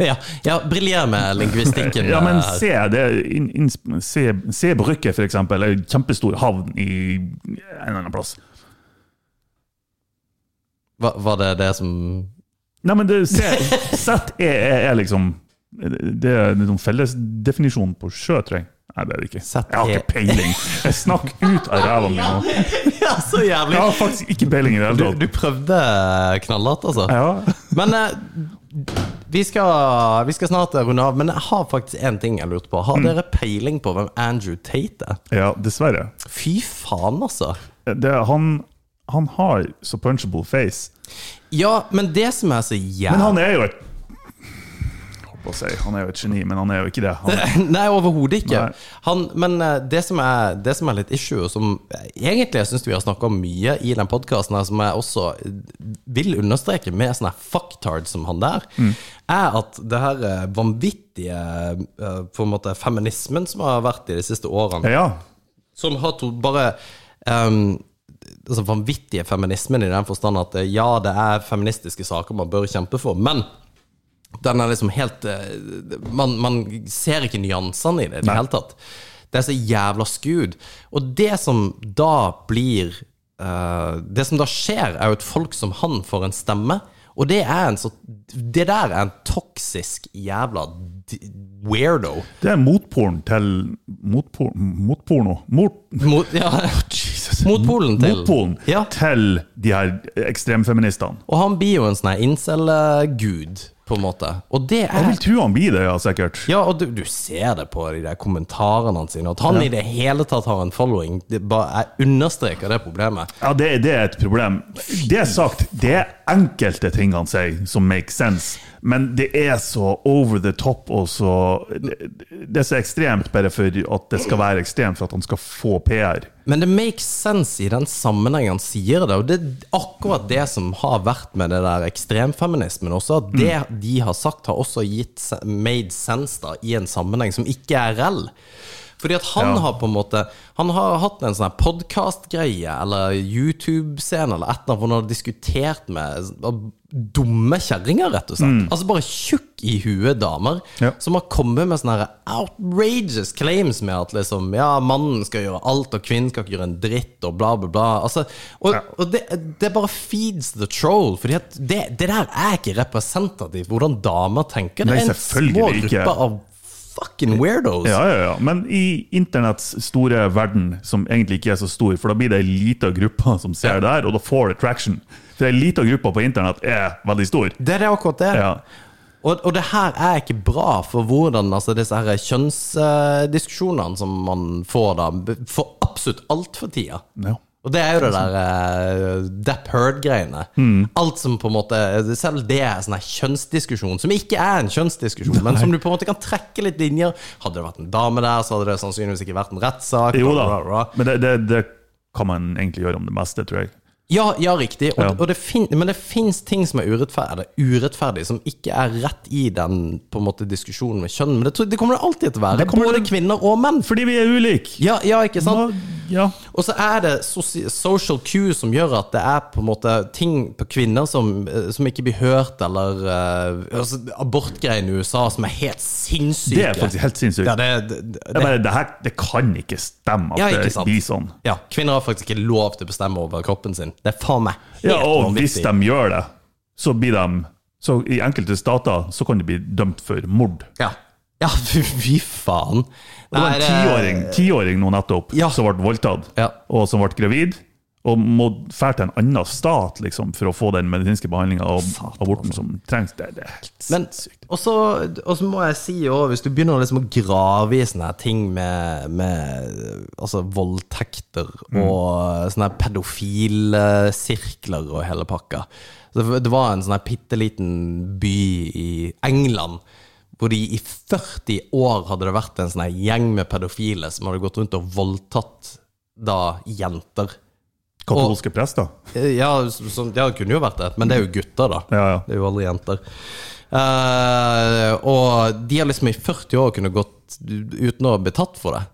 Speaker 6: Ja, ja briljer med lingvistikken.
Speaker 7: Ja, men
Speaker 6: eh,
Speaker 7: C, det er in, in, C, C Brygge, for eksempel, er en kjempestor havn i en eller annen plass.
Speaker 6: var, var det det som
Speaker 7: Nei, men det, C, Z er, er, er liksom Det er liksom fellesdefinisjonen på sjø, tror jeg. Nei, det er det ikke.
Speaker 6: Z E
Speaker 7: Jeg har
Speaker 6: er-
Speaker 7: ikke peiling. Jeg snakker ut av ræva mi nå.
Speaker 6: Ja, så jævlig!
Speaker 7: Jeg har faktisk ikke peiling i det hele
Speaker 6: Du, du
Speaker 7: tatt.
Speaker 6: prøvde knallhardt, altså.
Speaker 7: Ja.
Speaker 6: Men eh, vi, skal, vi skal snart runde av. Men jeg har faktisk én ting jeg lurte på.
Speaker 7: Mm.
Speaker 6: Har dere peiling på hvem Andrew Tate er?
Speaker 7: ja, dessverre.
Speaker 6: Fy faen, altså.
Speaker 7: Det, han han har så punchable face.
Speaker 6: Ja, men det som er så jævlig
Speaker 7: Men han er jo et Jeg holdt på å si, han er jo et geni, men han er jo ikke det. Han er,
Speaker 6: Nei, overhodet ikke.
Speaker 7: Nei.
Speaker 6: Han, men eh, det som, er, det som er litt issue, og som eh, egentlig jeg syns vi har snakka om mye i den podkasten, som jeg også eh, vil understreke med sånne her fucktard som han der, er at det her eh, vanvittige eh, på en måte feminismen som har vært i de siste årene,
Speaker 7: ja,
Speaker 6: som har to bare ehm, altså vanvittige feminismen i den forstand at eh, ja, det er feministiske saker man bør kjempe for, men den er liksom helt eh, Man, man ser ikke nyansene i det i det hele tatt. Det er så jævla skud. Og det som da blir eh, Det som da skjer, er jo at folk som han får en stemme. Og det er en så Det der er en toksisk jævla d- weirdo.
Speaker 7: det er motporn til motporn, Motporno. Mot,
Speaker 6: Mot, ja, motpolen til
Speaker 7: motpolen
Speaker 6: Ja.
Speaker 7: til de her ekstremfeministene.
Speaker 6: Og han blir jo en sånn her incel-gud, på en måte. Og det
Speaker 7: Jeg
Speaker 6: er
Speaker 7: vil tro han blir det, ja, sikkert.
Speaker 6: Ja, og du, du ser det på de der kommentarene hans, at han i det hele tatt har en following. Det bare, jeg understreker det problemet.
Speaker 7: Ja, det, det er et problem. Det er sagt, det er enkelte ting han sier som makes sense, men det er så over the top og så Det det er så ekstremt bare for at det skal være ekstremt, for at han skal få PR.
Speaker 6: Men det makes sense i den sammenhengen han sier det, og det er akkurat det som har vært med det der ekstremfeminismen også, at det
Speaker 7: Mm.
Speaker 6: de har sagt har også gitt se- made sense da, i en sammenheng som ikke er reell. Fordi at han
Speaker 7: Ja.
Speaker 6: har på en måte Han har hatt en sånn her podcast-greie eller YouTube-scene eller et eller annet hvor han har diskutert med dumme kjerringer, rett og slett. Altså bare tjukk i huet damer
Speaker 7: Mm. Ja.
Speaker 6: som har kommet med sånne her outrageous claims med at liksom Ja, mannen skal gjøre alt, og kvinnen skal ikke gjøre en dritt, og bla, bla, bla. Altså, og og det, det bare feeds the troll, Fordi at det, det der er ikke representativt hvordan damer tenker. Det
Speaker 7: Nei,
Speaker 6: er en små
Speaker 7: selvfølgelig ikke.
Speaker 6: gruppe av fucking weirdos.
Speaker 7: Ja, ja, ja. Men i internetts store verden, som egentlig ikke er så stor, for da blir det ei lita gruppe som ser det her, og da får det traction. For ei lita gruppe på internett er veldig stor.
Speaker 6: Det er det akkurat det.
Speaker 7: Ja.
Speaker 6: Og, og det her er ikke bra for hvordan altså, disse her kjønnsdiskusjonene som man får da, b- får absolutt alt for tida.
Speaker 7: ja.
Speaker 6: Og det er jo det der eh, Depp Heard-greiene.
Speaker 7: Mm.
Speaker 6: Alt som på en måte Selv det er sånn her kjønnsdiskusjon, som ikke er en kjønnsdiskusjon, men som du på en måte kan trekke litt linjer. Hadde det vært en dame der, så hadde det sannsynligvis ikke vært en rettssak.
Speaker 7: Jo da.
Speaker 6: bla, bla, bla.
Speaker 7: Men det, det, det kan man egentlig gjøre om det meste, tror jeg.
Speaker 6: Ja, ja, riktig. Og,
Speaker 7: Ja.
Speaker 6: og det fin men det fins ting som er urettferdig, eller urettferdig, som ikke er rett i den på en måte, diskusjonen med kjønn. Men det, tror- det kommer det alltid til å være.
Speaker 7: Det kommer
Speaker 6: Både
Speaker 7: det-
Speaker 6: kvinner og menn.
Speaker 7: Fordi vi er ulike!
Speaker 6: Ja, ja, ikke sant?
Speaker 7: Ja.
Speaker 6: Og så er det soci- social cue som gjør at det er på en måte ting på kvinner som, eh, som ikke blir hørt, eller eh, altså, abortgreiene i USA som er helt sinnssyke.
Speaker 7: Det er faktisk helt sinnssykt.
Speaker 6: Ja, det, det, det,
Speaker 7: Det, er bare, det, her, det kan ikke stemme at
Speaker 6: ja, ikke
Speaker 7: det
Speaker 6: sant?
Speaker 7: blir sånn.
Speaker 6: Ja, kvinner har faktisk ikke lov til å bestemme over kroppen sin. Det er faen meg helt
Speaker 7: Ja, og hvis
Speaker 6: vanvittig.
Speaker 7: de gjør det, så blir de så I enkelte stater så kan de bli dømt for mord.
Speaker 6: Ja, ja fy, fy faen.
Speaker 7: Det
Speaker 6: Nei,
Speaker 7: var en
Speaker 6: det- eh,
Speaker 7: tiåring, tiåring nå nettopp
Speaker 6: Ja.
Speaker 7: som ble voldtatt,
Speaker 6: Ja.
Speaker 7: og som ble gravid. Og må dra til en annen stat liksom, for å få den medisinske behandlinga og aborten som trengs. Det, det er helt
Speaker 6: altså. Men, og så og så må jeg si òg, hvis du begynner liksom å grave i sånne her ting med, med altså voldtekter og sånne her pedofilsirkler og hele pakka Så Det var en sånn her bitte liten by i England. Hvor de i 40 år hadde det vært en sånn her gjeng med pedofile som hadde gått rundt og voldtatt da jenter.
Speaker 7: Katolske prester.
Speaker 6: Eh, Ja, som, ja, det kunne jo vært det, men det er jo gutter, da.
Speaker 7: Ja, ja.
Speaker 6: Det er jo aldri jenter. Eh, og de har liksom i 40 år kunne gått uten å bli tatt for det.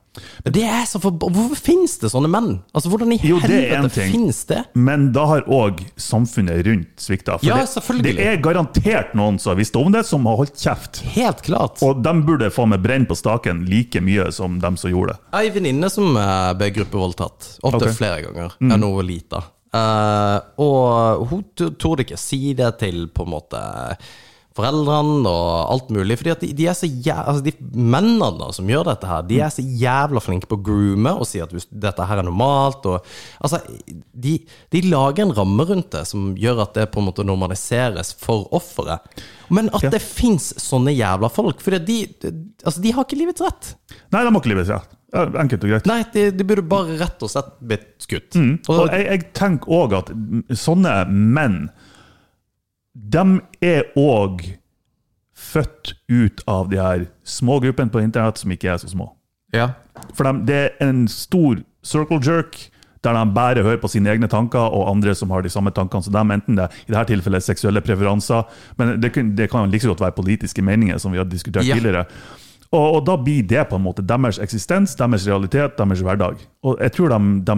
Speaker 6: Men det er så forb- Hvorfor finnes det sånne menn? Altså, Hvordan i
Speaker 7: Jo, det er en
Speaker 6: helvete
Speaker 7: ting.
Speaker 6: finnes det?
Speaker 7: Men da har òg samfunnet rundt svikta.
Speaker 6: Ja,
Speaker 7: det,
Speaker 6: selvfølgelig.
Speaker 7: det er garantert noen som har visst om det, som har holdt kjeft.
Speaker 6: Helt klart.
Speaker 7: Og de burde få med brenn på staken like mye som dem som gjorde det.
Speaker 6: Jeg har en venninne som eh, ble gruppevoldtatt. Opptil
Speaker 7: Ok.
Speaker 6: flere ganger da hun var lita. Eh, og hun t- torde ikke si det til på en måte foreldrene og alt mulig. Fordi at de, de er så jæ altså, de mennene da, som gjør dette her, de er så jævla flinke på å groome og si at hvis dette her er normalt. Og, altså, de, de lager en ramme rundt det som gjør at det på en måte normaliseres for offeret. Men at det fins sånne jævla folk. For de, de, altså, de har ikke livets rett.
Speaker 7: Nei, de har ikke livet sitt. Ja, Enkelt og greit.
Speaker 6: Nei, de, de burde bare rett og slett blitt skutt.
Speaker 7: Mm.
Speaker 6: Og-
Speaker 7: Og jeg, jeg tenker òg at sånne menn De er òg født ut av de her smågruppene på internett som ikke er så små.
Speaker 6: Ja.
Speaker 7: For dem, det er en stor circle jerk der de bare hører på sine egne tanker og andre som har de samme tankene som dem, enten det er i dette tilfellet seksuelle preferanser, men det kan, det kan like så godt være politiske meninger, som vi har diskutert
Speaker 6: Ja.
Speaker 7: tidligere. Og, og da blir det på en måte deres eksistens, deres realitet, deres hverdag. Og jeg tror de, de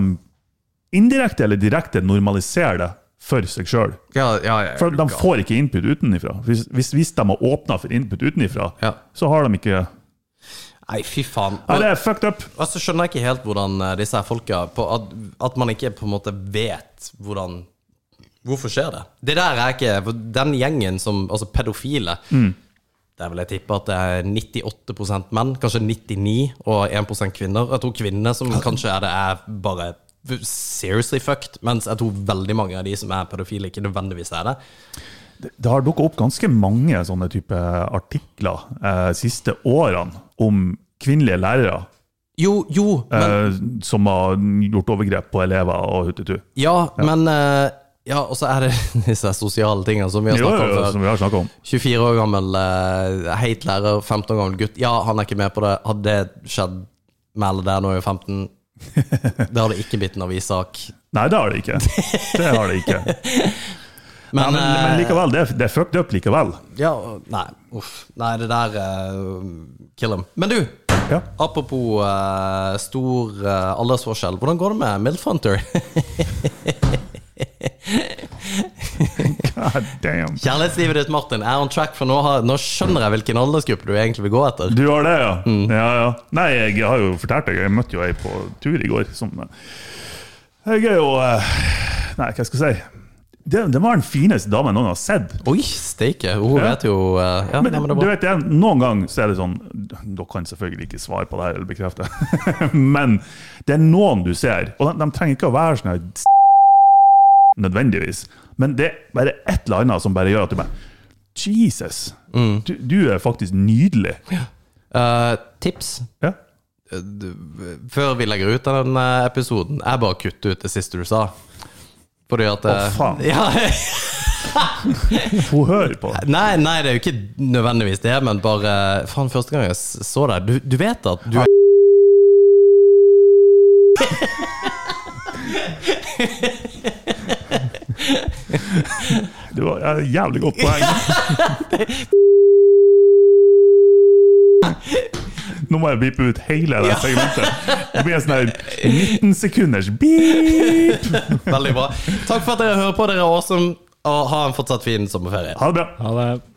Speaker 7: indirekte eller direkte normaliserer det for seg sjøl.
Speaker 6: Ja, ja, ja,
Speaker 7: For de får ikke input utenifra. Hvis, hvis, hvis de har åpna for input utenifra,
Speaker 6: Ja.
Speaker 7: så har de ikke
Speaker 6: Nei, fy faen.
Speaker 7: Nei,
Speaker 6: Og,
Speaker 7: det er fucked up!
Speaker 6: og så skjønner jeg ikke helt hvordan eh, disse her folka på, at, at man ikke på en måte vet hvordan Hvorfor skjer det? Det der er ikke for Den gjengen som Altså, pedofile.
Speaker 7: Mm.
Speaker 6: Der vil jeg tippe at det er 98 menn, kanskje 99 og 1 kvinner. Jeg tror kvinnene som kanskje er det, er bare seriously fucked, mens jeg tror veldig mange av de som er pedofile, ikke nødvendigvis er det.
Speaker 7: Det har dukka opp ganske mange sånne type artikler eh, siste årene om kvinnelige lærere
Speaker 6: Jo, jo, men
Speaker 7: eh, som har gjort overgrep på elever og hutetu.
Speaker 6: Ja, men eh, Ja, og så er det disse sosiale tingene som vi har
Speaker 7: Jo, jo,
Speaker 6: snakket
Speaker 7: jo,
Speaker 6: om
Speaker 7: som
Speaker 6: før.
Speaker 7: vi har snakket om.
Speaker 6: 24 år gammel uh, heit lærer, 15 år gammel gutt. Ja, han er ikke med på det. Hadde det skjedd med alle der når vi er 15, det hadde ikke blitt en avissak.
Speaker 7: Nei, det har det ikke. Det har det ikke. Nei,
Speaker 6: Men,
Speaker 7: men, men likevel, det er, det er fucked up likevel.
Speaker 6: eh, Ja, nei. Uff. Nei, det der eh, Kill him. Men du,
Speaker 7: Ja.
Speaker 6: apropos eh, stor eh, aldersforskjell. Hvordan går det med Milf Hunter?
Speaker 7: God damn.
Speaker 6: Kjærlighetslivet ditt, Martin, er on track, for nå, har, nå skjønner jeg hvilken aldersgruppe du egentlig vil gå etter.
Speaker 7: Du har det, ja.
Speaker 6: Mm.
Speaker 7: ja, ja. Nei, jeg har jo fortalt deg, jeg møtte jo ei på tur i går som Jeg er jo eh, Nei, hva skal jeg si? Det, det var den fineste damen jeg noen har sett.
Speaker 6: Oi, steike! Hun
Speaker 7: Ja.
Speaker 6: vet jo eh, ja,
Speaker 7: Men,
Speaker 6: nei, men det er
Speaker 7: du
Speaker 6: bra.
Speaker 7: vet, det, noen ganger så er det sånn Dere kan selvfølgelig ikke svare på det her eller bekrefte, men det er noen du ser, og de, de trenger ikke å være sånn her s- nødvendigvis, men det er bare et eller annet som bare gjør at du bare Jesus! Du, du er faktisk nydelig.
Speaker 6: Eh, tips
Speaker 7: Ja.
Speaker 6: Eh, du- før vi legger ut den eh, episoden, er bare å kutte ut det siste du sa. Fordi at eh,
Speaker 7: Å, faen.
Speaker 6: Ja,
Speaker 7: Hun hører på.
Speaker 6: nei, nei, det er jo ikke nødvendigvis det, men bare eh, Faen, første gang jeg s- så deg Du, du vet at du er
Speaker 7: Det var et jævlig godt poeng. Nå må jeg bipe ut hele det segmentet. Det blir en sånn her 19 sekunders beep.
Speaker 6: veldig bra. Takk for at dere hører på. Dere er awesome. Og ha en fortsatt fin sommerferie.
Speaker 7: Ha det bra.
Speaker 8: Ha det.